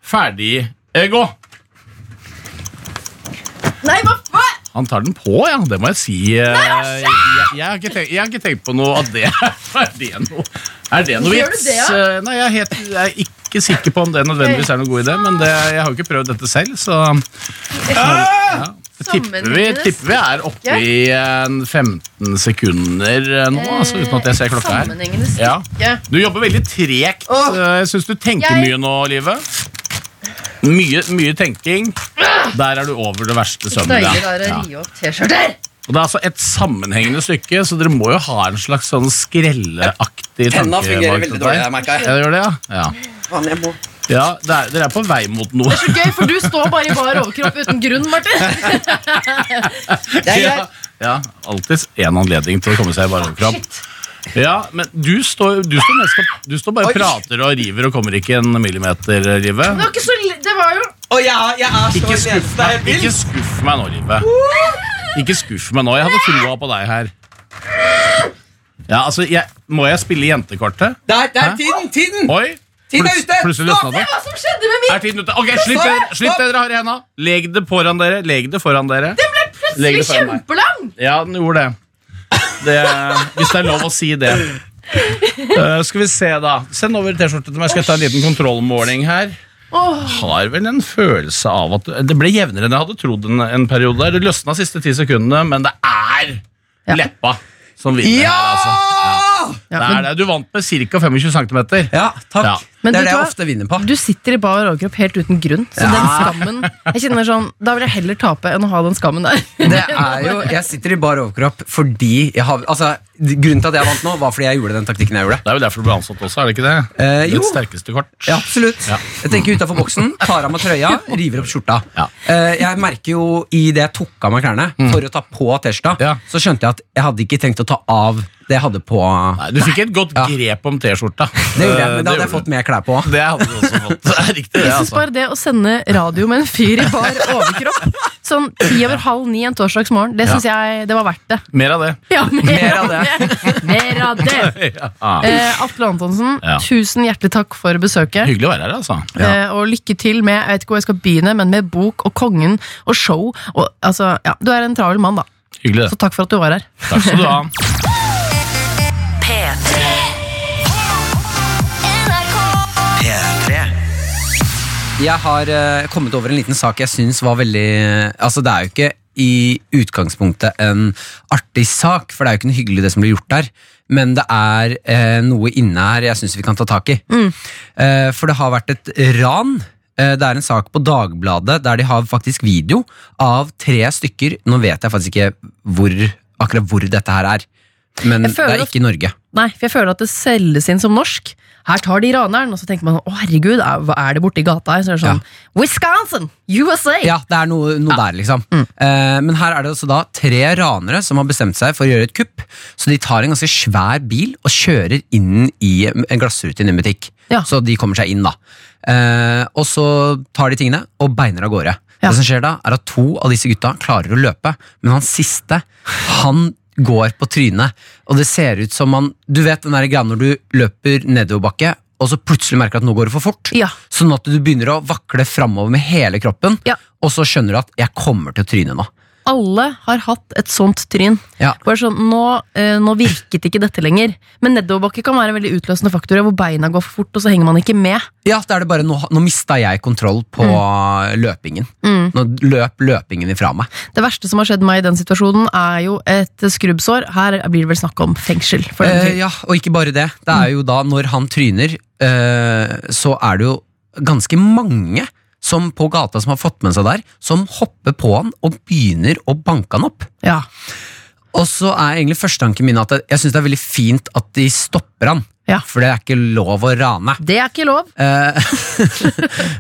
J: ferdig, eh, gå!
B: Nei, hva faen?
J: Han tar den på, ja. Det må jeg si. eh, Jeg, jeg, har, ikke tenkt, jeg har ikke tenkt på noe av det. Er det noe, er det noe
B: Gjør du
J: vits?
B: det, ja?
J: Eh, Nei, jeg er, helt, jeg er ikke sikker på om det nødvendigvis er noen god idé, men det, jeg har jo ikke prøvd dette selv, så ja. tipper, vi,
B: Sammenlignes.
J: tipper vi er
B: Ja.
J: oppe i en 15 sekunder eh, nå, altså, uten at jeg ser klokka her.
B: Sammenhengende
J: Ja.
B: stykke.
J: Du jobber veldig tregt.
B: Åh.
J: Eh, Jeg syns du tenker
B: Jeg-
J: mye nå, Live. Mye, mye tenking. Der er du over det verste sømmet.
B: Deilig det er å rive opp T-skjorter.
J: Og Det er altså et sammenhengende stykke, så dere må jo ha en slags sånn skrelleaktig
K: Penna fungerer
J: bak
K: veldig
J: dette
K: dårlig,
J: her.
K: jeg merker jeg.
J: Ja, det gjør det, ja? Ja,
K: Faen, jeg må.
J: ja det er, dere er på vei mot noe.
B: Så gøy, for du står bare i bar overkropp uten grunn, Martin.
K: Det er
J: Ja,
K: greit.
J: ja alltid én anledning til å komme seg i bare overkropp. Ja, men du står, du står, nesten, du står bare og
K: Oi.
J: prater og river og kommer ikke en millimeter, Live.
B: Det var ikke så li- Det var jo
K: Å, jeg, jeg er så
J: Ikke skuff
K: Det er helt
J: meg,
K: vilt.
J: ikke skuff meg nå, Live. Ikke skuff meg nå. Jeg hadde troa på deg her. Ja, altså, jeg, Må jeg spille jentekortet?
K: Der, der,
J: Hæ?
K: tiden, tiden!
J: Oi!
K: Tiden er
J: Plut-
K: ute!
J: Plutselig løsna det.
B: hva som skjedde med min
J: Er tiden ute? Ok, Slipp
K: Stopp!
J: det, slipp det dere har i henda. Legg det foran dere. Legg det foran dere. Legg
B: plutselig
J: det foran meg.
B: kjempelang?
J: Ja, den gjorde det. det hvis det er lov å si det. Eh, skal vi se, da. Send over T-skjorte til meg. Skal jeg ta en liten kontrollmåling her? Har vel en følelse av at Det ble jevnere enn jeg hadde trodd en, en periode. der. Det løsna de siste ti sekundene, men det er leppa som vinner.
K: Ja!
J: her, altså.
B: Ja,
J: Det
B: men
J: er det. Du vant med ca. 25 cm.
C: Ja, takk.
J: Ja.
B: Men du
C: Det er det jeg
B: tar-
C: ofte vinner på.
B: Du sitter i bar overkropp helt uten grunn, så den skammen Jeg kjenner sånn, Da vil jeg heller tape enn å ha den skammen der.
C: Det er jo, Jeg sitter i bar overkropp fordi jeg har Altså, Grunnen til at jeg vant nå, var fordi jeg gjorde den taktikken jeg gjorde.
J: Det er jo derfor du ble ansatt også, er det ikke det?
C: Eh, jo.
J: Ditt sterkeste kort.
C: Ja, absolutt.
J: Ja.
C: Jeg tenker utafor boksen, tar av meg trøya, river opp skjorta.
J: Ja. Mm.
C: Eh, Jeg merker jo i det jeg tok av meg klærne for å ta på T-skjorta,
J: Ja.
C: så skjønte jeg at jeg hadde ikke trengt å ta av det jeg hadde på.
J: Nei, du fikk et godt
C: Ja.
J: grep om T-skjorta.
C: Det gjorde jeg,
J: Eh,
C: men da hadde jeg
J: gjorde
C: fått mer klær på.
J: du. Det hadde du også fått. Det er riktig, det.
B: Jeg synes
J: Altså.
B: bare det å sende radio med en fyr i bar overkropp sånn ti over halv ni en torsdagsmorgen, det syns jeg det var verdt det.
J: Mer av det.
B: Ja, mer,
C: Mer
B: av
C: av
B: det! Mer av det.
J: Ah,
B: Eh, Atle Antonsen,
J: Ja.
B: tusen hjertelig takk for besøket.
J: hyggelig å være her, altså.
B: Eh, og lykke til med jeg vet ikke hvor jeg skal begynne, men med bok og Kongen og show. Og, altså, ja, du er en travel mann, da.
J: Hyggelig,
B: Så
J: det.
B: takk for at du var her.
J: Takk skal du ha.
F: P3.
A: P3
C: Jeg har eh, kommet over en liten sak jeg syns var veldig Altså, det er jo ikke i utgangspunktet en artig sak, for det er jo ikke noe hyggelig det som blir gjort der, men det er eh, noe inne her jeg syns vi kan ta tak i.
B: Mm.
C: Eh, for det har vært et ran. Eh, det er en sak på Dagbladet der de har faktisk video av tre stykker. Nå vet jeg faktisk ikke hvor, akkurat hvor dette her er, men
B: Jeg
C: det
B: føler
C: er
B: at-
C: ikke i Norge.
B: Nei, for jeg føler at det selges inn som norsk. Her tar de raneren, og så tenker man å herregud, er, hva er det borte i gata her? Så er det sånn Wisconsin! USA!
C: Ja, det er noe, noe der, liksom. Eh, men her er det altså da tre ranere som har bestemt seg for å gjøre et kupp. Så de tar en ganske svær bil og kjører inn i en glassrute inn i en butikk. Så de kommer seg inn, da. Eh, og så tar de tingene og beiner av gårde. Det som skjer da, er at to av disse gutta klarer å løpe, men han siste, han går på trynet. Og det ser ut som man Du vet den der greia når du løper nedoverbakke, og så plutselig merker du at nå går det for fort. Sånn at du begynner å vakle framover med hele kroppen, og så skjønner du at 'jeg kommer til å tryne nå'.
B: Alle har hatt et sånt tryn. Bare sånn, nå, eh, nå virket ikke dette lenger. Men nedoverbakke kan være en veldig utløsende faktor, hvor beina går for fort, og så henger man ikke med.
C: Ja, da er det bare Nå, nå mista jeg kontroll på løpingen.
B: Mm.
C: Nå løp løpingen ifra meg.
B: Det verste som har skjedd meg i den situasjonen, er jo et skrubbsår. Her blir det vel snakk om fengsel. For den Mm.
C: Eh,
B: fyren.
C: ja, og ikke bare det. Det er jo da, når han tryner, eh, så er det jo ganske mange som på gata som har fått med seg der, som hopper på han og begynner å banke han opp. Og så er egentlig førstetanken min at jeg- jeg syns det er veldig fint at de stopper han. For det er ikke lov å rane.
B: Det er ikke lov.
C: Eh.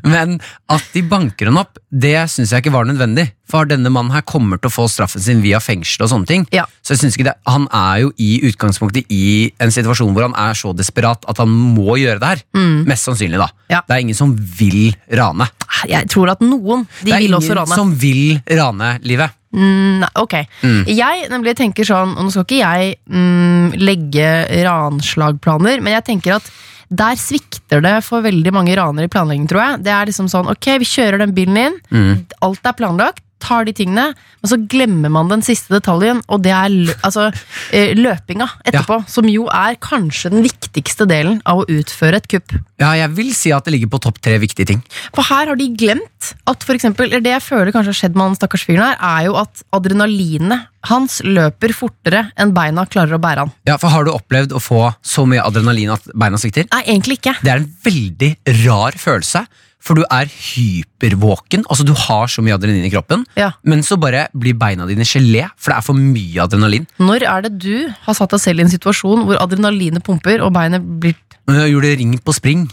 C: Men at de banker han opp, det syns jeg ikke var nødvendig. For denne mannen her kommer til å få straffen sin via fengsel og sånne ting. Så jeg synes ikke det, Han er jo i utgangspunktet i en situasjon hvor han er så desperat at han må gjøre det her.
B: Mm.
C: Mest sannsynlig, da. Det er ingen som vil rane.
B: Jeg tror at noen de
C: det er
B: vil
C: ingen
B: også rane.
C: som vil rane livet.
B: Mm, nei, ok.
C: Mm.
B: Jeg nemlig tenker sånn, og nå skal ikke jeg mm, legge ranslagplaner, men jeg tenker at der svikter det for veldig mange raner i planlegging, tror jeg. Det er liksom sånn, ok, vi kjører den bilen inn,
K: Mm.
B: alt er planlagt, tar de tingene, men så glemmer man den siste detaljen, og det er lø altså, eh, løpinga etterpå, som jo er kanskje den viktigste delen av å utføre et kupp.
C: Ja, jeg vil si at det ligger på topp tre viktige ting.
B: For her har de glemt at for eksempel, eller Det jeg føler kanskje har skjedd med han stakkars fyren her, er jo at adrenalinet hans løper fortere enn beina klarer å bære han.
C: Ja, for Har du opplevd å få så mye adrenalin at beina svikter?
B: Nei, egentlig ikke.
C: Det er en veldig rar følelse, for du er hypervåken. Altså Du har så mye adrenalin i kroppen,
B: Ja.
C: men så bare blir beina dine gelé, for det er for mye adrenalin.
B: Når er det du har satt deg selv i en situasjon hvor adrenalinet pumper og beinet blir
C: Men jeg gjorde ring på spring.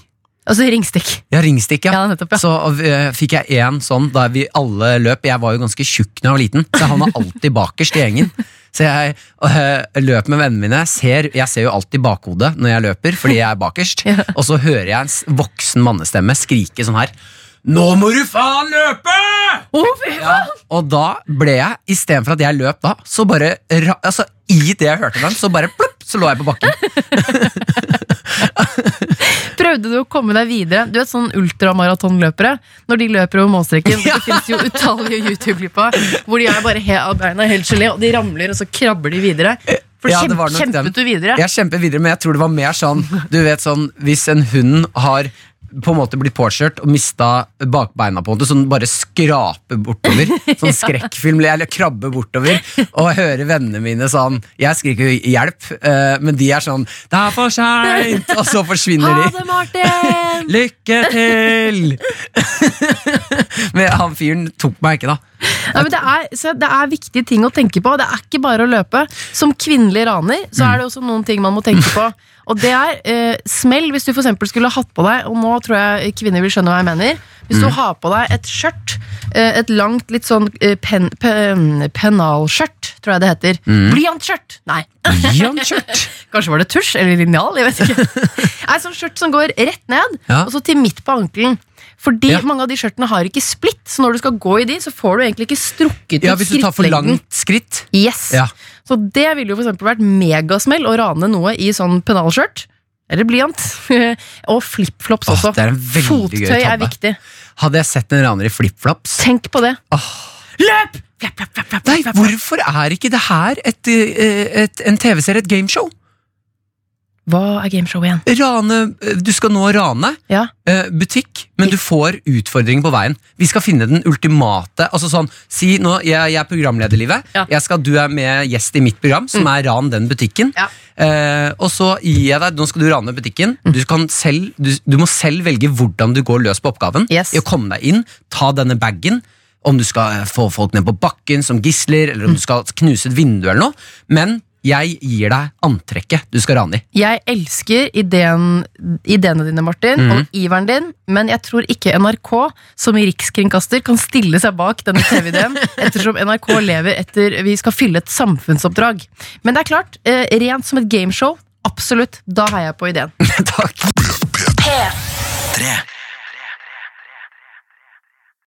B: Altså ringstikk.
C: Ja, ringstikk, ja.
B: nettopp, ja.
C: Så eh, fikk jeg én sånn da vi alle løp. Jeg var jo ganske tjukk da jeg var liten, så jeg havna alltid bakerst i gjengen. Så jeg eh, løp med vennene mine. Ser, jeg ser jo alltid bakhodet når jeg løper, fordi jeg er bakerst. Og så hører jeg en s- voksen mannestemme skrike sånn her. Nå må du faen løpe!
B: ja,
C: og da ble jeg, istedenfor at jeg løp da, så bare ra- altså, I det jeg hørte den, så bare plopp, så lå jeg på bakken.
B: Prøvde du å komme deg videre? Du vet sånn ultramaratonløpere. Når de løper over målstreken.
K: Ja.
B: Det finnes jo utallige YouTube-klipp av hvor de er bare he beina er helt gelé, og de ramler, og så krabber de videre. For
C: Ja, det
B: kjemp,
C: var nok den.
B: kjempet du videre?
C: Jeg kjemper videre, men jeg tror det var mer sånn Du vet sånn, Hvis en hund har på en måte blitt påkjørt og mista bakbeina, på en måte, så den bare skraper bortover. Sånn skrekkfilm, eller krabbe bortover. Og jeg hører vennene mine sånn Jeg skriker jo 'hjelp', eh, men de er sånn 'det er for seint', og så
B: Ah,
C: forsvinner de.
B: Martin!
C: Lykke til! men han fyren tok meg ikke, da.
B: Nei, men det, er, se, det er viktige ting å tenke på. Det er ikke bare å løpe. Som kvinnelig raner så
K: Mm.
B: er det også noen ting man må tenke på. Og det er eh, smell, hvis du for eksempel skulle hatt på deg Og nå tror jeg kvinner vil skjønne hva jeg mener. Hvis du
K: Mm.
B: har på deg et skjørt, eh, et langt, litt sånn eh, pen, pen, pennalskjørt, tror jeg det heter.
K: Mm.
B: Blyantskjørt! Nei.
C: Blyantskjørt?
B: Kanskje var det tusj eller linjal? Jeg vet ikke. Nei, sånn skjørt som går rett ned,
K: Ja.
B: og så til midt på ankelen. Fordi mange av de skjørtene har ikke splitt, så når du skal gå i de, så får du egentlig ikke strukket ut
C: Ja, Hvis du tar for
B: skrittlengden.
C: langt skritt.
B: Yes.
C: Ja.
B: Så det ville jo for eksempel vært megasmell å rane noe i sånn pennalskjørt. Eller blyant. og flipflops
C: Åh,
B: også.
C: det er en veldig gøy
B: Fottøy er
C: tabbe.
B: viktig.
C: Hadde jeg sett en raner i flipflops
B: Tenk på det. Løp!
C: Nei, hvorfor er ikke det her et, eh, et, en TV-serie, et gameshow?
B: Hva er gameshow igjen?
C: Rane, eh, du skal nå rane eh, butikk, men du får utfordringer på veien. Vi skal finne den ultimate altså sånn, Si nå, jeg, jeg er programleder, Livet. Jeg skal, du er med gjest i mitt program, som er Ran den butikken. Eh, og så gir jeg deg Nå skal du rane butikken. Du, kan selv, du, du må selv velge hvordan du går løs på oppgaven. I å komme deg inn, ta denne bagen. Om du skal eh, få folk ned på bakken som gisler, eller om du skal knuse et vindu. eller noe Men Jeg gir deg antrekket du skal rane i.
B: Jeg elsker ideen, ideene dine, Martin,
C: Mhm.
B: og iveren din, men jeg tror ikke NRK som rikskringkaster kan stille seg bak denne TV-ideen, ettersom NRK lever etter vi skal fylle et samfunnsoppdrag. Men det er klart, eh, rent som et gameshow, absolutt, da heier jeg på ideen.
C: Takk.
A: P3